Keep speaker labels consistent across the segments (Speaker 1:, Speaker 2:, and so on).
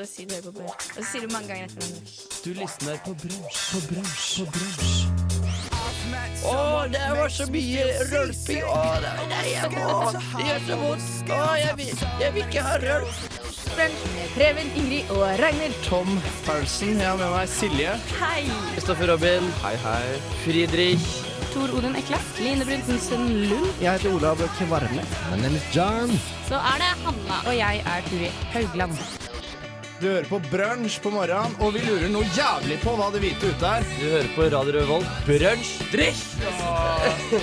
Speaker 1: Og si det på brunch. Og så sier du mange ganger etter hverandre.
Speaker 2: Du lysner på brunsj, på brunsj, på brunsj. Å, det var så mye rølping. Å, det, nei, jeg, å, det gjør så vondt. Å, jeg vil, jeg vil ikke ha rølp.
Speaker 1: Brunch med Preben, Ingrid og Ragnhild.
Speaker 2: Tom Paulsen. Jeg har med meg Silje.
Speaker 1: Hei!
Speaker 2: Kristoffer Robin. Hei, hei. Friedrich.
Speaker 1: Tor Odin Eklas. Line Bruntensen Lund.
Speaker 2: Jeg heter Olav Kvarme.
Speaker 3: My name is John.
Speaker 1: Så er det Hanna. Og jeg er Turi Haugland.
Speaker 2: Du hører på Brunsj på morgenen, og vi lurer noe jævlig på hva det hvite ute er. Du hører på Radio Revolt. Brunsj, drikk!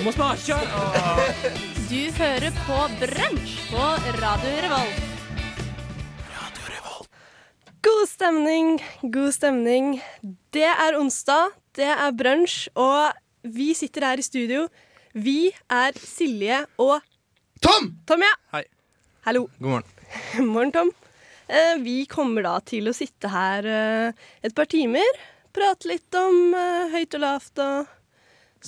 Speaker 2: Må smake!
Speaker 1: Du hører på Brunch på Radio Revolt.
Speaker 4: God stemning, god stemning. Det er onsdag, det er brunsj, og vi sitter her i studio. Vi er Silje og
Speaker 2: Tom!
Speaker 4: Tom, ja.
Speaker 2: Hei.
Speaker 4: Hallo.
Speaker 2: God morgen.
Speaker 4: Morgen, Tom. Eh, Vi kommer da til å sitte her eh, et par timer, prate litt om eh, høyt og lavt og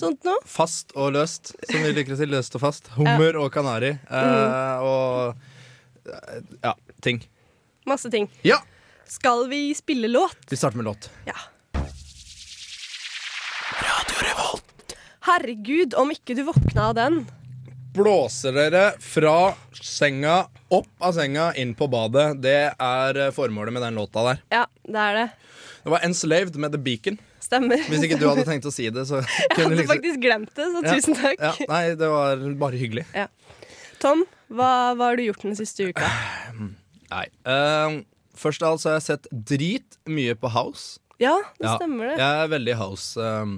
Speaker 4: sånt nå.
Speaker 2: Fast og løst, som vi liker å si. Løst og fast. Hummer og kanari. Eh, og eh, ja, ting.
Speaker 4: Masse ting.
Speaker 2: Ja!
Speaker 4: Skal vi spille låt?
Speaker 2: Vi starter med låt.
Speaker 4: Ja. Herregud, om ikke du våkna av den.
Speaker 2: Blåser dere fra senga, opp av senga, inn på badet. Det er eh, formålet med den låta der.
Speaker 4: Ja, det er det.
Speaker 2: Det var Enslaved med The Beacon.
Speaker 4: Stemmer.
Speaker 2: Hvis ikke du hadde tenkt å si det, så
Speaker 4: Jeg
Speaker 2: kunne
Speaker 4: hadde
Speaker 2: liksom
Speaker 4: altså, faktisk glemt det, så
Speaker 2: Ja,
Speaker 4: tusen takk.
Speaker 2: Ja, nei, det var bare hyggelig.
Speaker 4: Tom, hva, hva har du gjort den siste uka?
Speaker 2: Nei. ehm, først av alt så har jeg sett drit mye på House.
Speaker 4: Ja, det
Speaker 2: Ja,
Speaker 4: stemmer det.
Speaker 2: Jeg er veldig House ehm,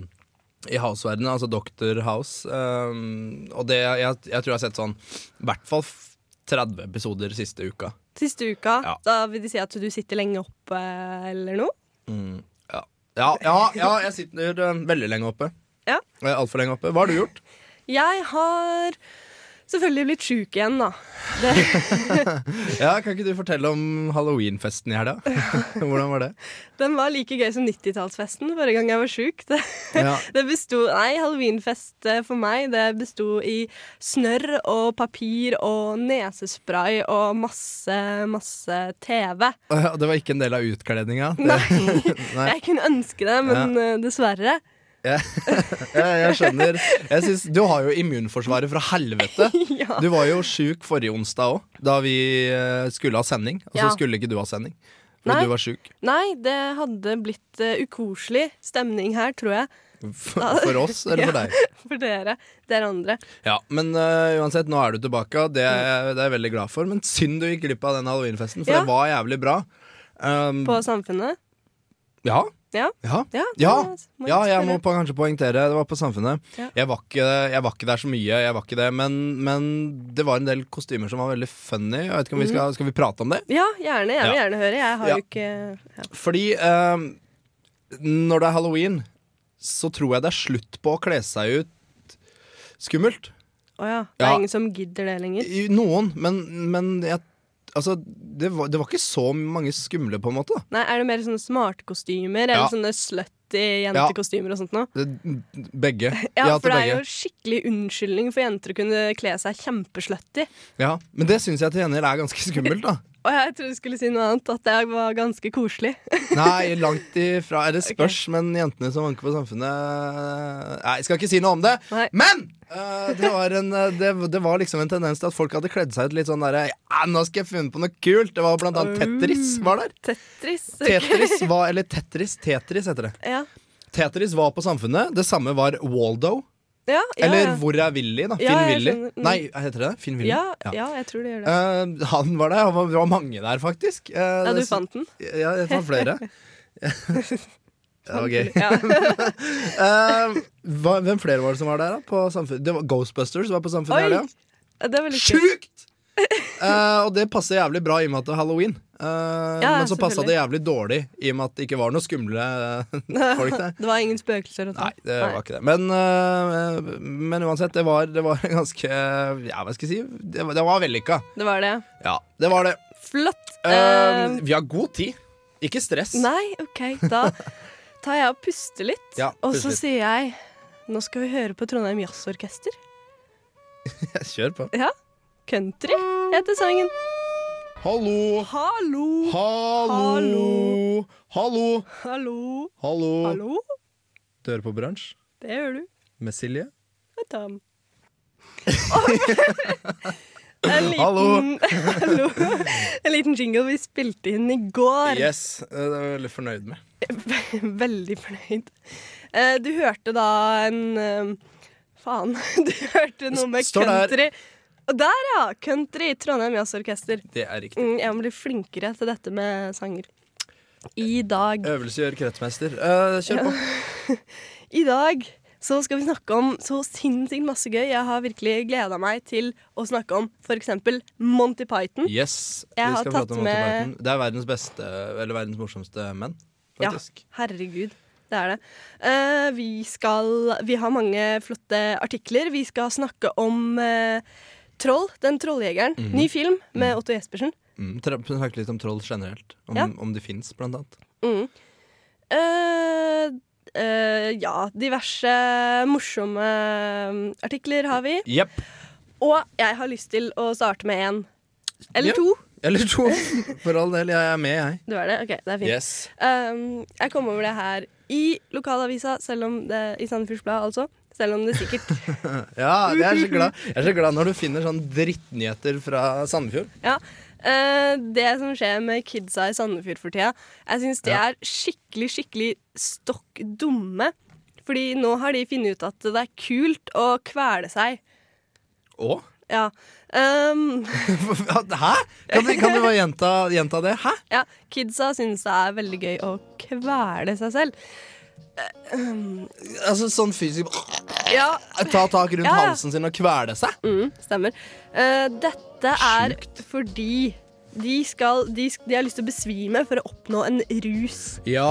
Speaker 2: i House-verdenen, altså Dr. House. ehm, og det, jeg, jeg tror jeg har sett sånn i hvert fall f- 30 episoder siste uka.
Speaker 4: Siste uka,
Speaker 2: Ja.
Speaker 4: da vil de si at du sitter lenge oppe eh, eller noe?
Speaker 2: Ja, ja, ja, ja jeg sitter ehm, veldig lenge oppe.
Speaker 4: Ja.
Speaker 2: Altfor lenge oppe. Hva har du gjort?
Speaker 4: Jeg har selvfølgelig blitt sjuk igjen, da.
Speaker 2: Ja, Kan ikke du fortelle om halloweenfesten i helga? Hvordan var det?
Speaker 4: Den var like gøy som 90-tallsfesten forrige gang jeg var sjuk. Det,
Speaker 2: Ja.
Speaker 4: det besto Nei, halloweenfest eh, for meg, det besto i snørr og papir og nesespray og masse, masse TV.
Speaker 2: Å ja, Det var ikke en del av utkledninga? Det- Nei.
Speaker 4: Jeg kunne ønske det, men eh, dessverre.
Speaker 2: Ja, jeg skjønner. Jeg synes, du har jo immunforsvaret fra helvete.
Speaker 4: Ja.
Speaker 2: Du var jo sjuk forrige onsdag òg, da vi eh, skulle ha sending. Og så
Speaker 4: Ja.
Speaker 2: skulle ikke du ha sending.
Speaker 4: Nei.
Speaker 2: Fordi du var sjuk.
Speaker 4: Nei, det hadde blitt eh, ukoselig stemning her, tror jeg.
Speaker 2: For, for oss eller for deg.
Speaker 4: For dere. Dere andre.
Speaker 2: Ja, Men eh, uansett, nå er du tilbake, og det, er- det er jeg veldig glad for. Men synd du gikk glipp av den halloweenfesten, for
Speaker 4: Ja.
Speaker 2: det var jævlig bra. Um,
Speaker 4: På Samfunnet.
Speaker 2: ja.
Speaker 4: Ja.
Speaker 2: ja.
Speaker 4: Ja,
Speaker 2: Ja.
Speaker 4: det må
Speaker 2: Ja, jeg
Speaker 4: spørre.
Speaker 2: må på, kanskje poengtere. Det var på Samfunnet.
Speaker 4: Ja.
Speaker 2: Jeg, var ikke, jeg var ikke der så mye, jeg var ikke det, men, men det var en del kostymer som var veldig funny. Jeg vet ikke om vi
Speaker 4: Mhm.
Speaker 2: skal, skal vi prate om det?
Speaker 4: Ja, gjerne. Jeg vil
Speaker 2: Ja.
Speaker 4: gjerne høre. Jeg har
Speaker 2: Ja.
Speaker 4: jo ikke ja.
Speaker 2: Fordi eh, når det er halloween, så tror jeg det er slutt på å kle seg ut skummelt.
Speaker 4: Å ja. Det er
Speaker 2: Ja.
Speaker 4: ingen som gidder det lenger.
Speaker 2: I- Noen, men, men jeg, altså, det, var, det var ikke så mange skumle, på en måte. da.
Speaker 4: Nei, er det mer sånne smarte kostymer?
Speaker 2: Ja.
Speaker 4: Eller sånne slutty jentekostymer og sånt noe?
Speaker 2: Det, begge.
Speaker 4: Ja,
Speaker 2: Ja, til
Speaker 4: for det er
Speaker 2: begge.
Speaker 4: jo skikkelig unnskyldning for jenter å kunne kle seg kjempeslutty.
Speaker 2: Ja, men det syns jeg til gjengjeld er ganske skummelt, da.
Speaker 4: Og jeg trodde du skulle si noe annet, at det var ganske koselig.
Speaker 2: Nei, langt ifra. Eller spørs, men jentene som vanker på samfunnet Nei, jeg skal ikke si noe om det.
Speaker 4: Nei.
Speaker 2: Men eh, det, var en, eh, det, det var liksom en tendens til at folk hadde kledd seg ut litt sånn derre ja, 'Nå skal jeg finne på noe kult'. Det var blant annet Tetris var der.
Speaker 4: Tetris.
Speaker 2: Tetris var, eller Tetris, Tetris heter det.
Speaker 4: Ja.
Speaker 2: Tetris var på Samfunnet. Det samme var Waldo.
Speaker 4: Ja, ja,
Speaker 2: Eller
Speaker 4: ja.
Speaker 2: Hvor er Willy, da?
Speaker 4: Ja,
Speaker 2: Finn
Speaker 4: jeg
Speaker 2: Willy.
Speaker 4: skjønner. Mm.
Speaker 2: Nei, heter det det? Finn Willy?
Speaker 4: Ja, ja, jeg tror det gjør det.
Speaker 2: Eh, han var der. Han var, det var mange der, faktisk. Eh,
Speaker 4: Ja, du
Speaker 2: det-
Speaker 4: fant den?
Speaker 2: Ja, jeg fant flere. ja, det var gøy.
Speaker 4: Ja.
Speaker 2: Eh, hva, hvem flere var det som var der, da? På samfunn- det var Ghostbusters var på Samfunnet.
Speaker 4: Oi!
Speaker 2: her, ja.
Speaker 4: Det er veldig kult.
Speaker 2: Sjukt! Eh, og det passer jævlig bra i og med at det er halloween. Eh,
Speaker 4: Ja,
Speaker 2: men så passa
Speaker 4: selvfølgelig.
Speaker 2: det jævlig dårlig i og med at det ikke var noen skumle eh, folk der.
Speaker 4: Det var ingen spøkelser? altså. og sånt.
Speaker 2: Nei, det var ikke det. Men, eh, men uansett, det var, det var ganske Ja, hva skal jeg si? Det var, det var vellykka.
Speaker 4: Det var det.
Speaker 2: Ja, det var det.
Speaker 4: Flott.
Speaker 2: Eh,
Speaker 4: Eh,
Speaker 2: vi har god tid. Ikke stress.
Speaker 4: nei, OK. Da tar jeg og puster litt,
Speaker 2: Ja,
Speaker 4: og
Speaker 2: puste
Speaker 4: så
Speaker 2: litt.
Speaker 4: sier jeg nå skal vi høre på Trondheim Jazzorkester.
Speaker 2: Kjør på.
Speaker 4: Ja. Country heter sangen.
Speaker 2: Hallo!
Speaker 4: Hallo!
Speaker 2: Hallo! Hallo!
Speaker 4: Hallo!
Speaker 2: Hallo!
Speaker 4: Hallo?
Speaker 2: Du hører på Bransj
Speaker 4: Det gjør du.
Speaker 2: med Silje.
Speaker 4: Og Tom. en liten,
Speaker 2: Hallo.
Speaker 4: Hallo. En liten jingle vi spilte inn i går.
Speaker 2: Yes, eh, det er jeg veldig fornøyd med.
Speaker 4: Veldig fornøyd. Eh, Du hørte da en eh, Faen. Du hørte noe med
Speaker 2: Står der.
Speaker 4: country. Og der, ja! Country. Trondheim Jazzorkester.
Speaker 2: Det er riktig.
Speaker 4: Mm, Jeg må bli flinkere til dette med sanger. I dag
Speaker 2: Øvelse gjør kretsmester. Eh, kjør på.
Speaker 4: I dag så skal vi snakke om så sinnssykt masse gøy. Jeg har virkelig gleda meg til å snakke om f.eks. Monty Python.
Speaker 2: Yes.
Speaker 4: Jeg har tatt
Speaker 2: Monty
Speaker 4: med-
Speaker 2: Python. Det er verdens beste, eller verdens morsomste menn,
Speaker 4: Ja,
Speaker 2: faktisk.
Speaker 4: herregud. Det er det. Eh, vi skal Vi har mange flotte artikler. Vi skal snakke om eh, Troll, Den trolljegeren. Ny film med Otto Jespersen.
Speaker 2: Mm, tra- Snakke litt om troll generelt. Om,
Speaker 4: Ja.
Speaker 2: om de fins, blant annet.
Speaker 4: Mhm. Eh, eh, ja, diverse morsomme eh, artikler har vi.
Speaker 2: Jepp.
Speaker 4: Og jeg har lyst til å starte med én. Eller
Speaker 2: Ja.
Speaker 4: to.
Speaker 2: Eller to, for all del. Jeg er med, jeg.
Speaker 4: Du er det? Ok, det er fint.
Speaker 2: Yes.
Speaker 4: Um, jeg kom over det her i lokalavisa, selv om det, i Sandefjords Blad altså. Selv om det sikkert
Speaker 2: Ja, jeg er så glad, jeg er så glad når du finner sånn drittnyheter fra Sandefjord.
Speaker 4: Ja. Eh, det som skjer med kidsa i Sandefjord for tida, jeg syns de
Speaker 2: Ja.
Speaker 4: er skikkelig, skikkelig stokk dumme. Fordi nå har de funnet ut at det er kult å kvele seg.
Speaker 2: Å?
Speaker 4: Ja. Um,
Speaker 2: Hæ? Kan du, kan du bare gjenta, gjenta det? Hæ?
Speaker 4: ja. Kidsa syns det er veldig gøy å kvele seg selv.
Speaker 2: Altså sånn fysisk
Speaker 4: Ja,
Speaker 2: Ta tak rundt
Speaker 4: Ja, ja.
Speaker 2: halsen sin og kvele seg?
Speaker 4: Mm, stemmer. Eh, dette er fordi de, skal, de, sk- de har lyst til å besvime for å oppnå en rus.
Speaker 2: Ja,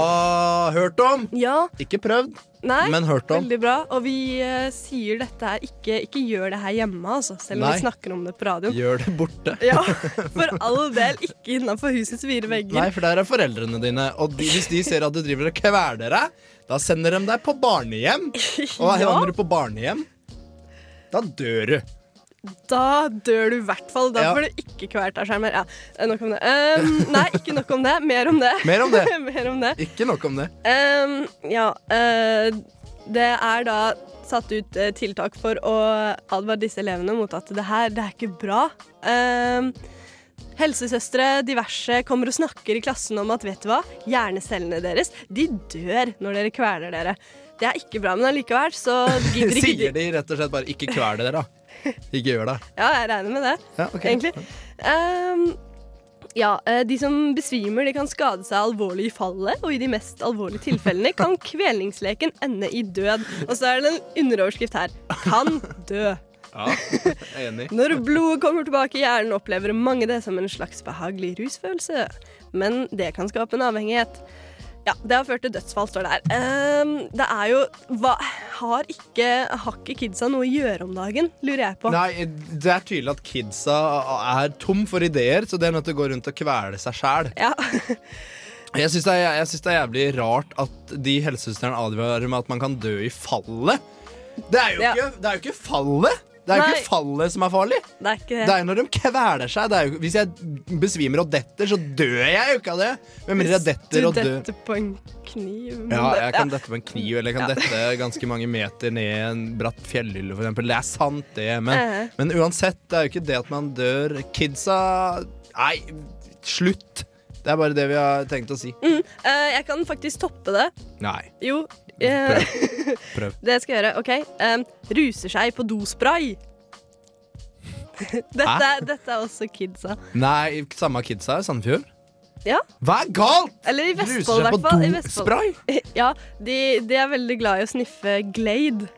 Speaker 2: hørt om!
Speaker 4: Ja,
Speaker 2: Ikke prøvd,
Speaker 4: nei,
Speaker 2: men hørt om.
Speaker 4: veldig bra. Og vi eh, sier dette her ikke, ikke gjør det her hjemme, altså, selv om
Speaker 2: Nei.
Speaker 4: vi snakker om det på radioen.
Speaker 2: Gjør det borte.
Speaker 4: Ja, for all del ikke innafor husets fire
Speaker 2: Nei,
Speaker 4: vegger.
Speaker 2: for der er foreldrene dine, og de, hvis de ser at du driver og kveler deg, da sender de deg på barnehjem. Og hva
Speaker 4: Ja.
Speaker 2: havner du på barnehjem? Da dør du.
Speaker 4: Da dør du i hvert fall. Da
Speaker 2: Ja.
Speaker 4: får du ikke kvalt av skjermer. Ja, eh, nok om det. Eh, nei, ikke nok om det. Mer om det.
Speaker 2: Mer om det.
Speaker 4: Mer om det.
Speaker 2: Ikke nok om det.
Speaker 4: Ehm, ja, eh, det er da satt ut eh, tiltak for å advare disse elevene mot at det her, det er ikke bra. Ehm, helsesøstre, diverse, kommer og snakker i klassen om at vet du hva, hjernecellene deres, de dør når dere kveler dere. Det er ikke bra, men allikevel så gidder ikke
Speaker 2: Sier de rett og slett bare 'ikke kvel dere', da. Ikke gjør det.
Speaker 4: Ja, jeg regner med det
Speaker 2: Ja, ok.
Speaker 4: egentlig. Ehm, ja, eh, de som besvimer de kan skade seg alvorlig i fallet, og i de mest alvorlige tilfellene kan kvelningsleken ende i død. Og så er det en underoverskrift her. Kan dø.
Speaker 2: Ja, jeg er enig.
Speaker 4: Når blodet kommer tilbake i hjernen, opplever mange det som en slags behagelig rusfølelse. Men det kan skape en avhengighet. Ja, det har ført til dødsfall, står det her. Ehm, det er jo hva, har, ikke, har ikke kidsa noe å gjøre om dagen, lurer jeg på.
Speaker 2: Nei, det er tydelig at kidsa er tom for ideer, så de er nødt til å gå rundt og kvele seg sjæl.
Speaker 4: Ja.
Speaker 2: Jeg syns det, er- jeg synes det er jævlig rart at de helsesøstrene advarer med at man kan dø i fallet. Det er jo,
Speaker 4: Ja.
Speaker 2: ikke, det er jo ikke fallet! Det er jo
Speaker 4: Nei.
Speaker 2: ikke fallet som er farlig.
Speaker 4: Det er ikke
Speaker 2: Det er jo når de kveler seg. Det er jo, hvis jeg besvimer og detter, så dør jeg jo ikke av det. Hvem mindre jeg detter og
Speaker 4: Du
Speaker 2: dør.
Speaker 4: detter på en kniv. men
Speaker 2: Ja,
Speaker 4: det-
Speaker 2: jeg kan dette på en kniv, eller jeg kan dette ganske mange meter ned i en bratt fjellhylle, for eksempel. Det er sant, det, men,
Speaker 4: Eh.
Speaker 2: men uansett, det er jo ikke det at man dør. Kidsa Nei, slutt! Det er bare det vi har tenkt å si.
Speaker 4: Eh, jeg kan faktisk toppe det.
Speaker 2: Nei.
Speaker 4: Jo. eh,
Speaker 2: Prøv. Prøv.
Speaker 4: det skal jeg gjøre. OK. Em, ruser seg på dospray. dette,
Speaker 2: Hæ?
Speaker 4: er, dette er også kidsa.
Speaker 2: Nei, samme kidsa i Sandefjord.
Speaker 4: Ja.
Speaker 2: Hva er galt?!
Speaker 4: Eller i
Speaker 2: Ruser
Speaker 4: Vestfold,
Speaker 2: seg
Speaker 4: i
Speaker 2: på
Speaker 4: hvert fall. I Vestfold.
Speaker 2: dospray?
Speaker 4: Ja, de, de er veldig glad i å sniffe Glade.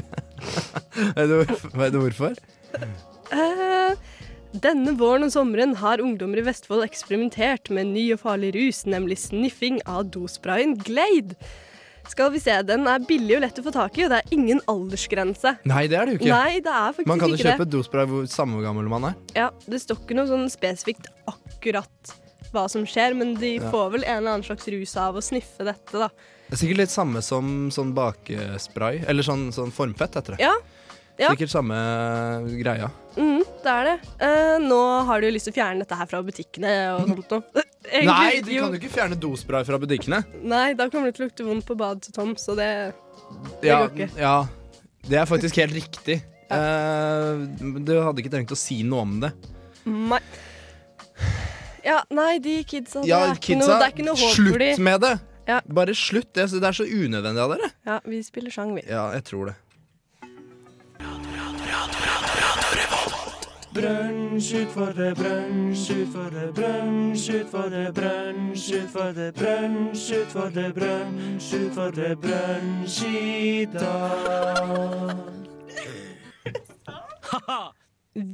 Speaker 2: Vet du- Vet du hvorfor?
Speaker 4: Eh, denne våren og sommeren har ungdommer i Vestfold eksperimentert med en ny og farlig rus, nemlig sniffing av dosprayen Glade. Skal vi se, den er billig og lett å få tak i, og det er ingen aldersgrense.
Speaker 2: Nei, det er det jo ikke.
Speaker 4: Nei, det er faktisk
Speaker 2: Man kan jo
Speaker 4: ikke
Speaker 2: kjøpe dospray hvor samme hvor gammel man er.
Speaker 4: det. Ja, det står ikke noe sånn spesifikt akkurat hva som skjer, men de får vel en eller annen slags rus av å sniffe dette, da.
Speaker 2: Det er Sikkert litt samme som sånn bakespray. Eller sånn, sånn formfett, heter det.
Speaker 4: Ja, ja.
Speaker 2: Sikkert samme greia.
Speaker 4: Mm, det er det. Eh, nå har du jo lyst til å fjerne dette her fra butikkene og sånt noe. Egentlig,
Speaker 2: Nei, du
Speaker 4: jo.
Speaker 2: kan jo ikke fjerne dospray fra butikkene.
Speaker 4: Nei, da kommer det til å lukte vondt på badet til Tom, så det
Speaker 2: Ja,
Speaker 4: går ikke.
Speaker 2: ja, det er faktisk helt riktig. Eh, du hadde ikke trengt å si noe om det.
Speaker 4: Nei. Ja, nei, de kidsa,
Speaker 2: Ja,
Speaker 4: det, er ikke noe,
Speaker 2: kidsa,
Speaker 4: det er ikke noe håp for
Speaker 2: slutt
Speaker 4: de.
Speaker 2: med det!
Speaker 4: Ja.
Speaker 2: Bare slutt. Det det er så unødvendig av dere.
Speaker 4: Ja, vi spiller sang, vi.
Speaker 2: Ja, jeg tror det.
Speaker 5: Brunch utfor det, brunch utfor det, brunch utfor det, brunch utfor det, brunch utfor det, brunch utfor det, brunch i dag.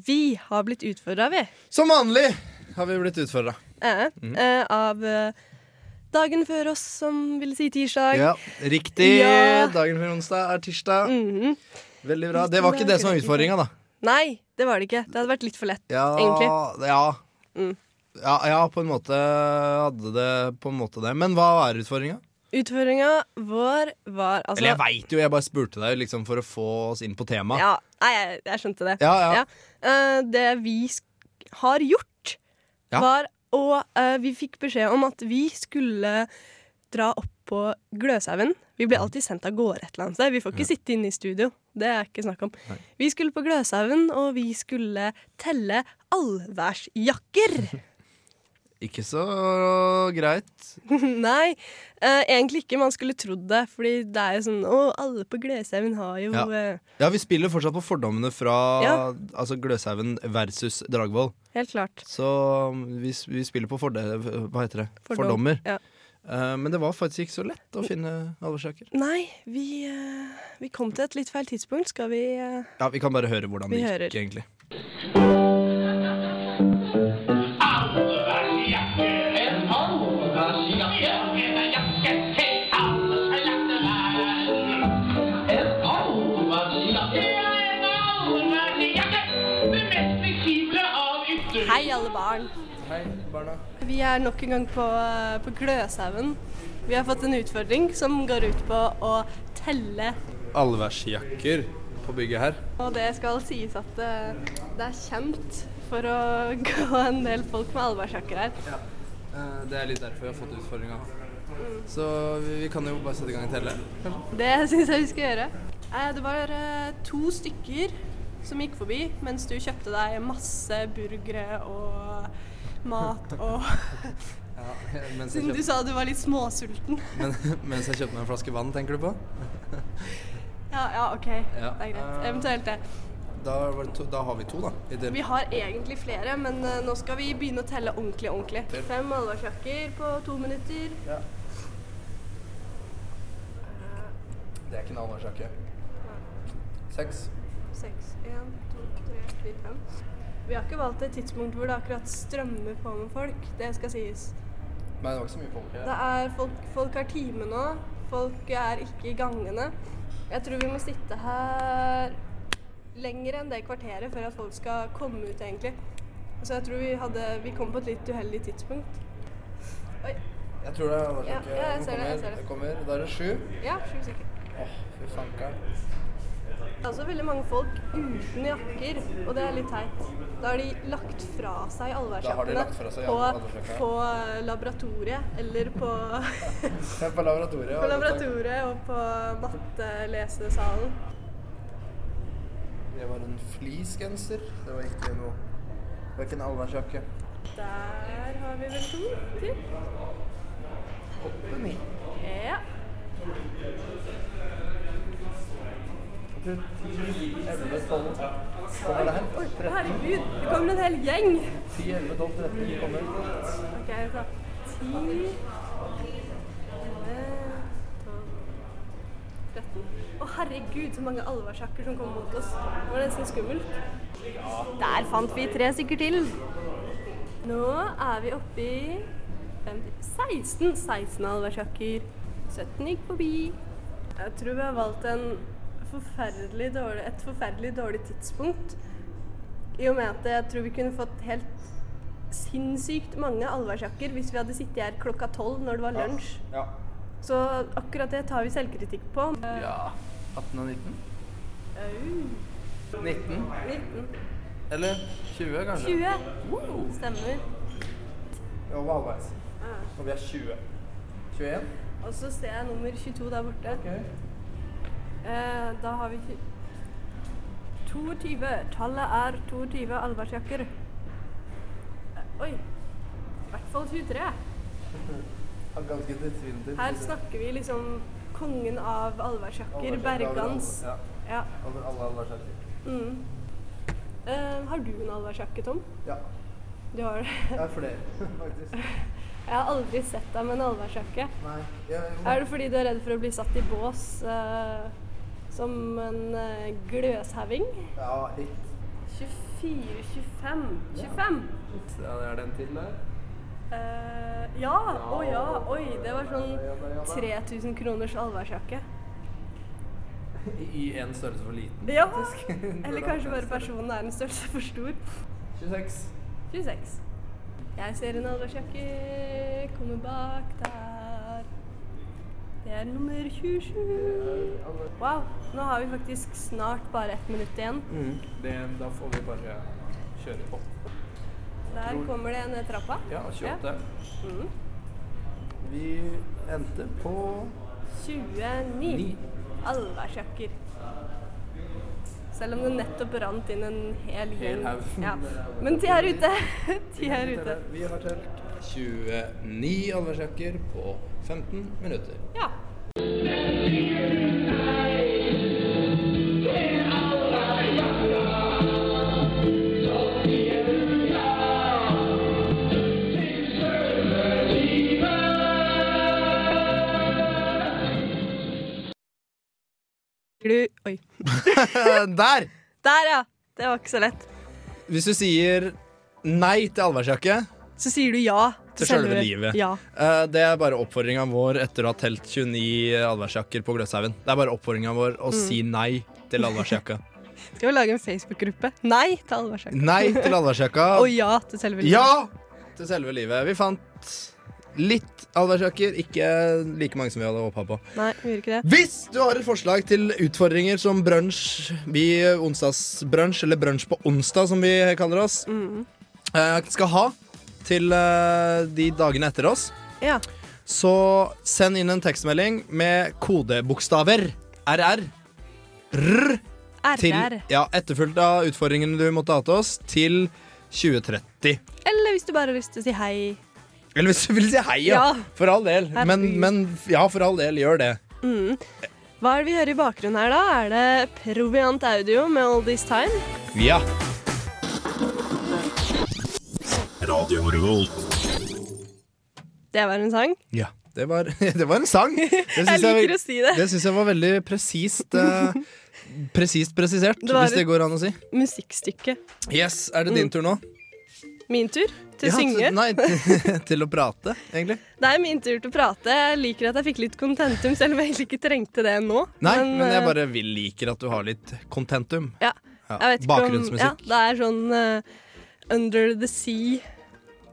Speaker 4: Vi har blitt utfordra, vi.
Speaker 2: Som vanlig har vi blitt utfordra.
Speaker 4: Eh, eh,
Speaker 2: Mm.
Speaker 4: av eh, dagen før oss, som vil si tirsdag.
Speaker 2: Ja, riktig.
Speaker 4: Ja.
Speaker 2: Dagen før onsdag er tirsdag.
Speaker 4: Mhm.
Speaker 2: Veldig bra. Det var ikke det som var utfordringa, da.
Speaker 4: Nei, det var det ikke. Det hadde vært litt for lett.
Speaker 2: Ja,
Speaker 4: Egentlig.
Speaker 2: Ja.
Speaker 4: Mm.
Speaker 2: Ja, ja, på en måte hadde det på en måte det. Men hva er utfordringa?
Speaker 4: Utfordringa vår var altså
Speaker 2: Eller jeg veit jo, jeg bare spurte deg liksom, for å få oss inn på temaet.
Speaker 4: Ja, nei, jeg, jeg skjønte det.
Speaker 2: Ja, ja.
Speaker 4: Ja. Eh, det vi sk har gjort,
Speaker 2: Ja.
Speaker 4: var å eh, Vi fikk beskjed om at vi skulle dra opp på Gløshaugen. Vi blir alltid sendt av gårde et eller annet sted. Vi får ikke sitte inne i studio. Det er ikke snakk om. Vi skulle på Gløshaugen, og vi skulle telle allværsjakker.
Speaker 2: Ikke så greit.
Speaker 4: Nei, eh, egentlig ikke. Man skulle trodd det, fordi det er jo sånn Å, alle på Gløshaugen har jo
Speaker 2: Ja.
Speaker 4: eh,
Speaker 2: Ja, vi spiller fortsatt på fordommene fra
Speaker 4: Ja.
Speaker 2: altså Gløshaugen versus Dragvoll.
Speaker 4: Helt klart.
Speaker 2: Så um, vi, vi spiller på forde... Hva heter det?
Speaker 4: Fordom.
Speaker 2: Fordommer.
Speaker 4: Ja.
Speaker 2: Eh, men det var faktisk ikke så lett å finne alvorssaker.
Speaker 4: Nei, vi, eh, vi kom til et litt feil tidspunkt. Skal vi eh,
Speaker 2: Ja, vi kan bare høre hvordan det
Speaker 4: Vi
Speaker 2: gikk,
Speaker 4: hører.
Speaker 2: egentlig.
Speaker 4: Hei, alle barn. Vi er nok en gang på, eh, på Gløshaugen. Vi har fått en utfordring som går ut på å telle.
Speaker 2: Allværsjakker på bygget her.
Speaker 4: Og det skal sies at eh, det er kjent for å gå en del folk med allværsjakker her.
Speaker 2: Eh, Det er litt derfor jeg har fått utfordringa. Så vi, vi kan jo bare sette i gang og telle.
Speaker 4: Det syns jeg vi skal gjøre. Eh, Det var eh, to stykker som gikk forbi mens du kjøpte deg masse burgere og mat og
Speaker 2: Mens jeg,
Speaker 4: Siden du
Speaker 2: kjøpte,
Speaker 4: sa du var litt småsulten.
Speaker 2: men, mens jeg kjøpte meg en flaske vann, tenker du på?
Speaker 4: Ja, ja, OK.
Speaker 2: Ja.
Speaker 4: Det er greit.
Speaker 2: Eh,
Speaker 4: Eventuelt det.
Speaker 2: Da, var det to, da har vi to, da. I det.
Speaker 4: Vi har egentlig flere, men eh, nå skal vi begynne å telle ordentlig. ordentlig. Fem allværsjakker på to minutter.
Speaker 2: Det er ikke en allværsjakke. Seks.
Speaker 4: Seks, én, to, tre, fire, fem. Vi har ikke valgt et tidspunkt hvor det akkurat strømmer på med folk. Det skal sies.
Speaker 2: Nei, det var ikke så mye folk her.
Speaker 4: Det er folk, folk har time nå. Folk er ikke i gangene. Jeg tror vi må sitte her lenger enn det kvarteret før at folk skal komme ut, egentlig. Så jeg tror vi, hadde, vi kom på et litt uheldig tidspunkt. Oi.
Speaker 2: Jeg tror det er allværsjakke.
Speaker 4: Ja, ja, jeg
Speaker 2: Den
Speaker 4: ser det, jeg ser det.
Speaker 2: den kommer. Da er det sju.
Speaker 4: Ja, sju stykker.
Speaker 2: Åh, fy fanker'n.
Speaker 4: Det er også veldig mange folk uten jakker, og det er litt teit. Da har de lagt fra seg
Speaker 2: Da har de
Speaker 4: allværsjakkene
Speaker 2: lagt fra seg
Speaker 4: på,
Speaker 2: allværsjakkene.
Speaker 4: på laboratoriet eller på,
Speaker 2: Jeg er på laboratoriet.
Speaker 4: på laboratoriet og på mattelesesalen.
Speaker 2: Det var en fleecegenser. Det var ikke noe Det var ikke en allværsjakke.
Speaker 4: Der har vi vel to til.
Speaker 2: Åtte, ni.
Speaker 4: Ja.
Speaker 2: Ti, elleve, tolv. Hva er det her? Oi,
Speaker 4: Herregud, det kommer en hel gjeng.
Speaker 2: Ti, elleve, tolv, tretten. Kommer.
Speaker 4: Ok, så ti, elleve, tolv, tretten. Å herregud, så mange allværsjakker som kom mot oss. Det var nesten skummelt. Der fant vi tre stykker til. Nå er vi oppe i 50, 16, 16 allværsjakker. 17 gikk forbi. Jeg tror vi har valgt en forferdelig dårlig, et forferdelig dårlig tidspunkt. I og med at jeg tror vi kunne fått helt sinnssykt mange allværsjakker hvis vi hadde sittet her klokka tolv når det var lunsj.
Speaker 2: Ja.
Speaker 4: Så akkurat det tar vi selvkritikk på.
Speaker 2: ja. 18 og 19?
Speaker 4: Au.
Speaker 2: 19?
Speaker 4: 19.
Speaker 6: Eller 20, kanskje?
Speaker 4: 20. Stemmer.
Speaker 6: Vi var halvveis. Og vi er 20. 21?
Speaker 4: Og så ser jeg nummer 22 der borte. Eh, da har vi ikke 22. Tallet er 22 allværsjakker. Eh, oi. I hvert fall 23.
Speaker 6: Har ganske tilsvinnet.
Speaker 4: Her snakker vi liksom kongen av allværsjakker, Bergans.
Speaker 6: Ja,
Speaker 4: Ja.
Speaker 6: over alle allværsjakker.
Speaker 4: Mm. Eh, har du en allværsjakke, Tom?
Speaker 6: Ja,
Speaker 4: Du har det.
Speaker 6: jeg er flere, faktisk.
Speaker 4: Jeg har aldri sett deg med en allværsjakke.
Speaker 6: Nei, jeg,
Speaker 4: Er det fordi du er redd for å bli satt i bås eh, som en eh, gløshaving?
Speaker 6: ja, litt.
Speaker 4: 24, 25 25!
Speaker 6: Ja, det er den til der.
Speaker 4: Eh, ja! Å ja! Oi, det var sånn 3000 kroners allværsjakke.
Speaker 6: I en størrelse for liten.
Speaker 4: Ja! Eller kanskje bare personen er en størrelse for stor.
Speaker 6: 26.
Speaker 4: 26. Jeg ser en allværsjakke komme bak der. Det er nummer 27. Wow, nå har vi faktisk snart bare ett minutt igjen.
Speaker 6: Mm. Det, da får vi bare kjøre på.
Speaker 4: Der kommer det ned trappa.
Speaker 6: Ja, 28.
Speaker 4: Mm.
Speaker 6: Vi endte på
Speaker 4: 29 allværsjakker. Selv om det nettopp rant inn en hel gjeng.
Speaker 6: haug.
Speaker 4: Ja. Men de er ute. De er ute.
Speaker 6: Vi har telt.
Speaker 2: 29 allværsjakker på 15 minutter.
Speaker 4: Ja. Glu. Oi.
Speaker 2: Eh, Der!
Speaker 4: Der, ja! Det var ikke så lett.
Speaker 2: Hvis du sier nei til allværsjakke
Speaker 4: Så sier du ja
Speaker 2: Til selve livet.
Speaker 4: Ja.
Speaker 2: eh, Det er bare oppfordringa vår etter å ha telt 29 allværsjakker på Gløshaugen. Det er bare oppfordringa vår å si nei til allværsjakka.
Speaker 4: Skal vi lage en Facebook-gruppe? Nei til allværsjakke.
Speaker 2: Nei til allværsjakka.
Speaker 4: Og ja til selve livet.
Speaker 2: Ja! Til selve livet. Vi fant litt allværsjakker, ikke like mange som vi hadde håpa på.
Speaker 4: Nei, vi gjør ikke det.
Speaker 2: Hvis du har et forslag til utfordringer som brunsj, vi onsdagsbrunsj, eller brunsj på onsdag som vi kaller oss,
Speaker 4: Mm.
Speaker 2: eh, skal ha til eh, de dagene etter oss,
Speaker 4: Ja.
Speaker 2: så send inn en tekstmelding med kodebokstaver RR RR til,
Speaker 4: RR.
Speaker 2: ja, etterfulgt av utfordringene du måtte ha til oss, til 2030.
Speaker 4: Eller hvis du bare har lyst til å si hei.
Speaker 2: Eller hvis du vil si hei, ja.
Speaker 4: Ja.
Speaker 2: For all del. Men,
Speaker 4: Herregud.
Speaker 2: men ja, for all del, gjør det.
Speaker 4: Hva er det vi hører i bakgrunnen her, da? Er det Proviant Audio med All This Time?
Speaker 2: Ja.
Speaker 4: Det var en sang.
Speaker 2: Ja, det var, det var en sang. Det
Speaker 4: Jeg
Speaker 2: syns
Speaker 4: liker å si det.
Speaker 2: det syns jeg var veldig presist eh, Presist presisert,
Speaker 4: Det var
Speaker 2: hvis det går an å si.
Speaker 4: Musikkstykke.
Speaker 2: Yes, Er det din tur nå?
Speaker 4: Min tur til å
Speaker 2: Ja, t-
Speaker 4: synge.
Speaker 2: Nei, t- til å prate, egentlig.
Speaker 4: Det er min tur til å prate. Jeg liker at jeg fikk litt contentum, selv om jeg egentlig ikke trengte det nå.
Speaker 2: Nei, men,
Speaker 4: eh,
Speaker 2: jeg bare vil liker at du har litt contentum.
Speaker 4: ja,
Speaker 2: Ja,
Speaker 4: jeg vet ikke Om, ja,
Speaker 2: Bakgrunnsmusikk.
Speaker 4: det er sånn eh, Under the Sea.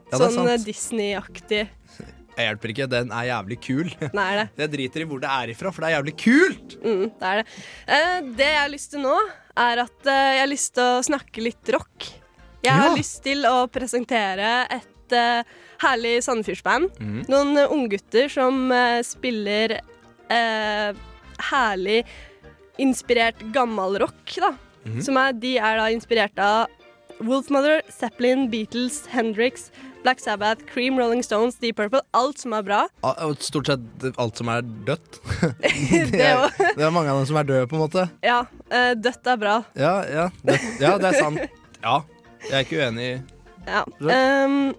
Speaker 2: Ja, det er
Speaker 4: sånn eh,
Speaker 2: sant.
Speaker 4: Disney-aktig.
Speaker 2: Jeg hjelper ikke, den er jævlig kul.
Speaker 4: Nei, det.
Speaker 2: Jeg driter i hvor det er ifra, for det er jævlig kult!
Speaker 4: Mm, det er det. Eh, det jeg har lyst til nå, er at eh, jeg har lyst til å snakke litt rock. Jeg har
Speaker 2: Ja.
Speaker 4: lyst til å presentere et eh, herlig Sandefjordsband. Noen uh, unggutter som eh, spiller eh, herlig inspirert gammel rock, da. Som er, de er da inspirert av Wolfmother, Zeppelin, Beatles, Hendrix, Black Sabbath, Cream, Rolling Stones, Deep Purple. Alt som er bra.
Speaker 2: Ah, og Stort sett alt som er dødt.
Speaker 4: Det er jo-
Speaker 2: det er mange av dem som er døde, på en måte.
Speaker 4: ja, eh, dødt er bra.
Speaker 2: Ja, ja. Det, ja, det er sant. Ja, jeg er ikke uenig i
Speaker 4: Ja.
Speaker 2: Bra.
Speaker 4: ehm,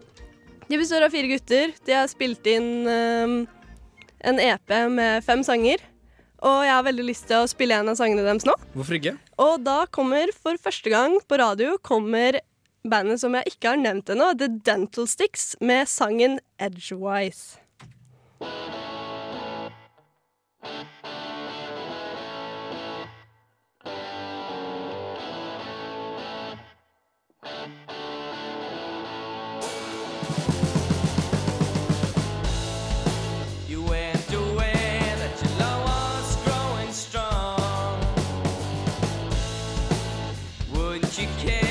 Speaker 4: de består av fire gutter. De har spilt inn ehm, en EP med fem sanger. Og jeg har veldig lyst til å spille en av sangene deres nå.
Speaker 2: Hvorfor ikke?
Speaker 4: Og da kommer for første gang på radio kommer bandet som jeg ikke har nevnt ennå, The Dental Sticks, med sangen Edgewise.
Speaker 6: You went away that your love was growing strong. Wouldn't you care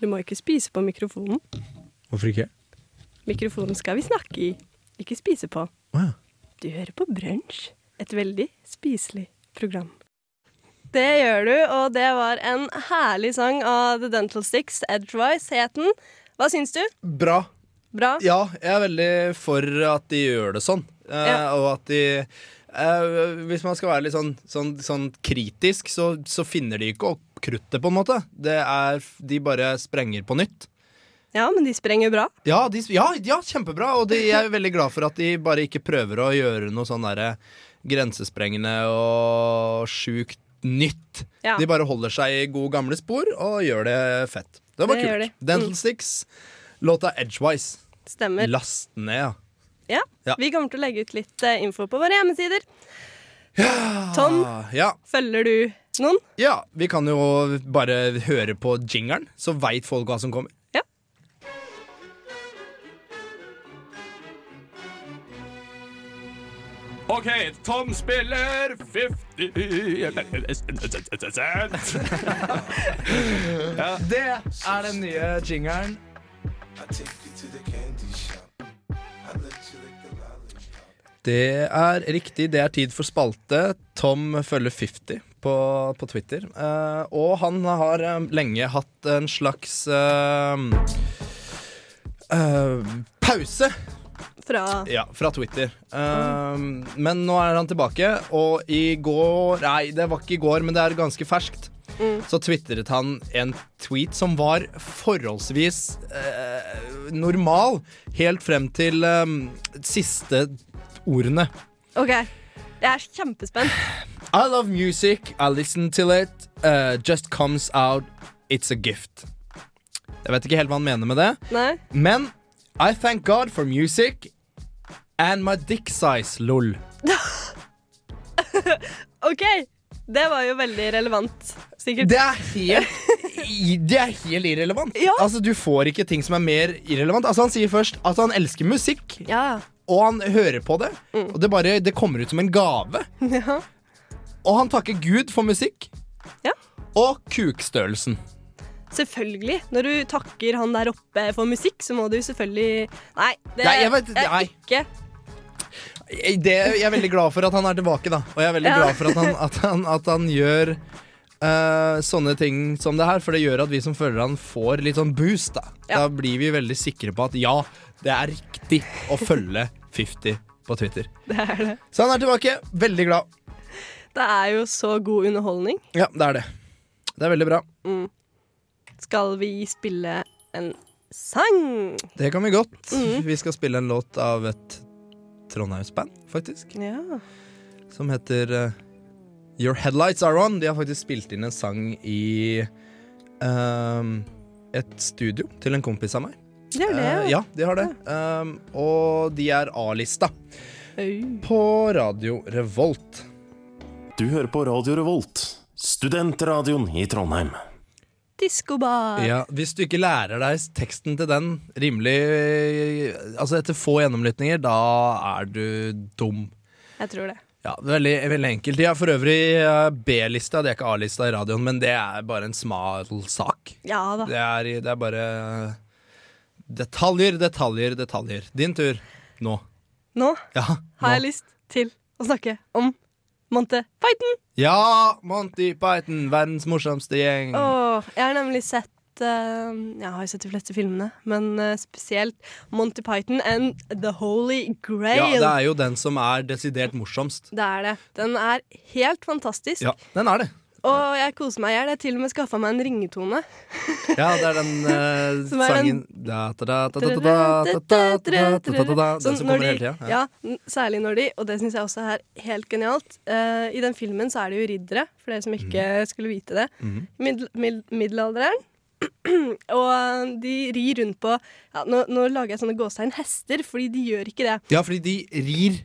Speaker 4: Du må ikke spise på mikrofonen.
Speaker 2: Hvorfor ikke?
Speaker 4: Mikrofonen skal vi snakke i, ikke spise på.
Speaker 2: Å ja.
Speaker 4: Du hører på Brunsj, et veldig spiselig program. Det gjør du, og det var en herlig sang av The Dental Sticks, Edgewise het den. Hva syns du?
Speaker 2: Bra.
Speaker 4: Bra?
Speaker 2: Ja, jeg er veldig for at de gjør det sånn. Eh,
Speaker 4: Ja.
Speaker 2: Og at de eh, Hvis man skal være litt sånn, sånn, sånn kritisk, så, så finner de ikke opp kruttet, på en måte. Det er, de bare sprenger på nytt.
Speaker 4: Ja, men de sprenger bra.
Speaker 2: Ja, de, ja, ja kjempebra. Og de, jeg er veldig glad for at de bare ikke prøver å gjøre noe sånn derre grensesprengende og sjukt nytt.
Speaker 4: Ja.
Speaker 2: De bare holder seg i gode gamle spor og gjør det fett. Det var
Speaker 4: Det gjør
Speaker 2: kult.
Speaker 4: de.
Speaker 2: Dental Sticks, låta Edgewise.
Speaker 4: Stemmer.
Speaker 2: Last ned, ja.
Speaker 4: Ja.
Speaker 2: Ja.
Speaker 4: Vi kommer til å legge ut litt eh, info på våre hjemmesider. Tom,
Speaker 2: Ah, ja.
Speaker 4: følger du noen?
Speaker 2: ja, vi kan jo bare høre på jingeren, så veit folk hva som kommer.
Speaker 4: Ja.
Speaker 5: OK, Tom spiller 50 cent.
Speaker 2: Det er den nye jingeren. Det er riktig. Det er tid for spalte. Tom følger 50 på, på Twitter. Eh, og han har eh, lenge hatt en slags eh, eh, pause
Speaker 4: Fra
Speaker 2: ja, fra Twitter. Ehm, men nå er han tilbake, og i går Nei, det var ikke i går, men det er ganske ferskt. Så tvitret han en tweet som var forholdsvis eh, normal helt frem til ehm, siste ordene.
Speaker 4: OK. Jeg er kjempespent.
Speaker 2: I love music, I listen til it, eh, just comes out, it's a gift. Jeg vet ikke helt hva han mener med det.
Speaker 4: Nei?
Speaker 2: Men I thank God for music and my dick size, lol.
Speaker 4: OK! Det var jo veldig relevant, sikkert.
Speaker 2: Det er helt, i- det er helt irrelevant.
Speaker 4: Ja.
Speaker 2: Altså, Du får ikke ting som er mer irrelevant. Altså, Han sier først at han elsker musikk,
Speaker 4: Ja, ja.
Speaker 2: og han hører på det.
Speaker 4: Mm.
Speaker 2: Og det bare det kommer ut som en gave.
Speaker 4: Ja.
Speaker 2: Og han takker Gud for musikk.
Speaker 4: Ja.
Speaker 2: Og kukstørrelsen.
Speaker 4: Selvfølgelig. Når du takker han der oppe for musikk, så må du selvfølgelig Nei, det
Speaker 2: Nei, jeg vet- nei.
Speaker 4: er ikke
Speaker 2: Jeg- Eh, Det, jeg er veldig glad for at han er tilbake, da. Og jeg er veldig
Speaker 4: Ja.
Speaker 2: glad for at han, at han, at han gjør eh, sånne ting som det her, for det gjør at vi som følger han, får litt sånn boost. Da
Speaker 4: Ja.
Speaker 2: Da blir vi veldig sikre på at ja, det er riktig å følge 50 på Twitter.
Speaker 4: Det er det.
Speaker 2: Så han er tilbake. Veldig glad.
Speaker 4: Det er jo så god underholdning.
Speaker 2: Ja, det er det. Det er veldig bra.
Speaker 4: Skal vi spille en sang?
Speaker 2: Det kan vi godt.
Speaker 4: Mm.
Speaker 2: Vi skal spille en låt av et Trondheimsband, faktisk,
Speaker 4: Ja.
Speaker 2: som heter eh, Your Headlights Are On. De har faktisk spilt inn en sang i ehm, et studio til en kompis av meg.
Speaker 4: Det er det.
Speaker 2: Eh, ja, de har det. Ehm, og de er A-lista
Speaker 4: Au.
Speaker 2: på Radio Revolt.
Speaker 7: Du hører på Radio Revolt, studentradioen i Trondheim.
Speaker 4: Diskobar.
Speaker 2: Ja, hvis du ikke lærer deg teksten til den rimelig Altså etter få gjennomlytninger, da er du dum.
Speaker 4: Jeg tror det.
Speaker 2: Ja, veldig, veldig enkelt. De er for øvrig eh, B-lista, de er ikke A-lista i radioen, men det er bare en smal sak.
Speaker 4: Ja da.
Speaker 2: Det er, det er bare detaljer, detaljer, detaljer. Din tur nå.
Speaker 4: Nå
Speaker 2: Ja,
Speaker 4: har jeg
Speaker 2: nå.
Speaker 4: lyst til å snakke om Monte Python.
Speaker 2: ja Monty Python, verdens morsomste gjeng.
Speaker 4: Åh, jeg har nemlig sett eh, jeg har jo sett de fleste filmene, men eh, spesielt Monty Python and The Holy
Speaker 2: Ja,
Speaker 4: Grail.
Speaker 2: det er jo den som er desidert morsomst.
Speaker 4: Det er det. Den er helt fantastisk.
Speaker 2: Ja, den er det.
Speaker 4: Og jeg koser meg i hjel. Jeg har til og med skaffa meg en ringetone.
Speaker 2: Ja, det er den eh,
Speaker 4: Som er
Speaker 2: sangen
Speaker 4: en-
Speaker 2: Da, da, da, da, da, da, da, da, da, da, da, da, Den
Speaker 4: Sånn
Speaker 2: som
Speaker 4: når
Speaker 2: kommer
Speaker 4: de-
Speaker 2: hele tida. Ja.
Speaker 4: Ja, n- særlig når de, og det syns jeg også er helt genialt. eh, I den filmen så er det jo riddere, for dere som
Speaker 2: Mhm.
Speaker 4: ikke skulle vite det. Middel, mid, middelalderen. Og de rir rundt på ja, nå, nå lager jeg sånne gåsetegn hester, fordi de gjør ikke det.
Speaker 2: ja, fordi de rir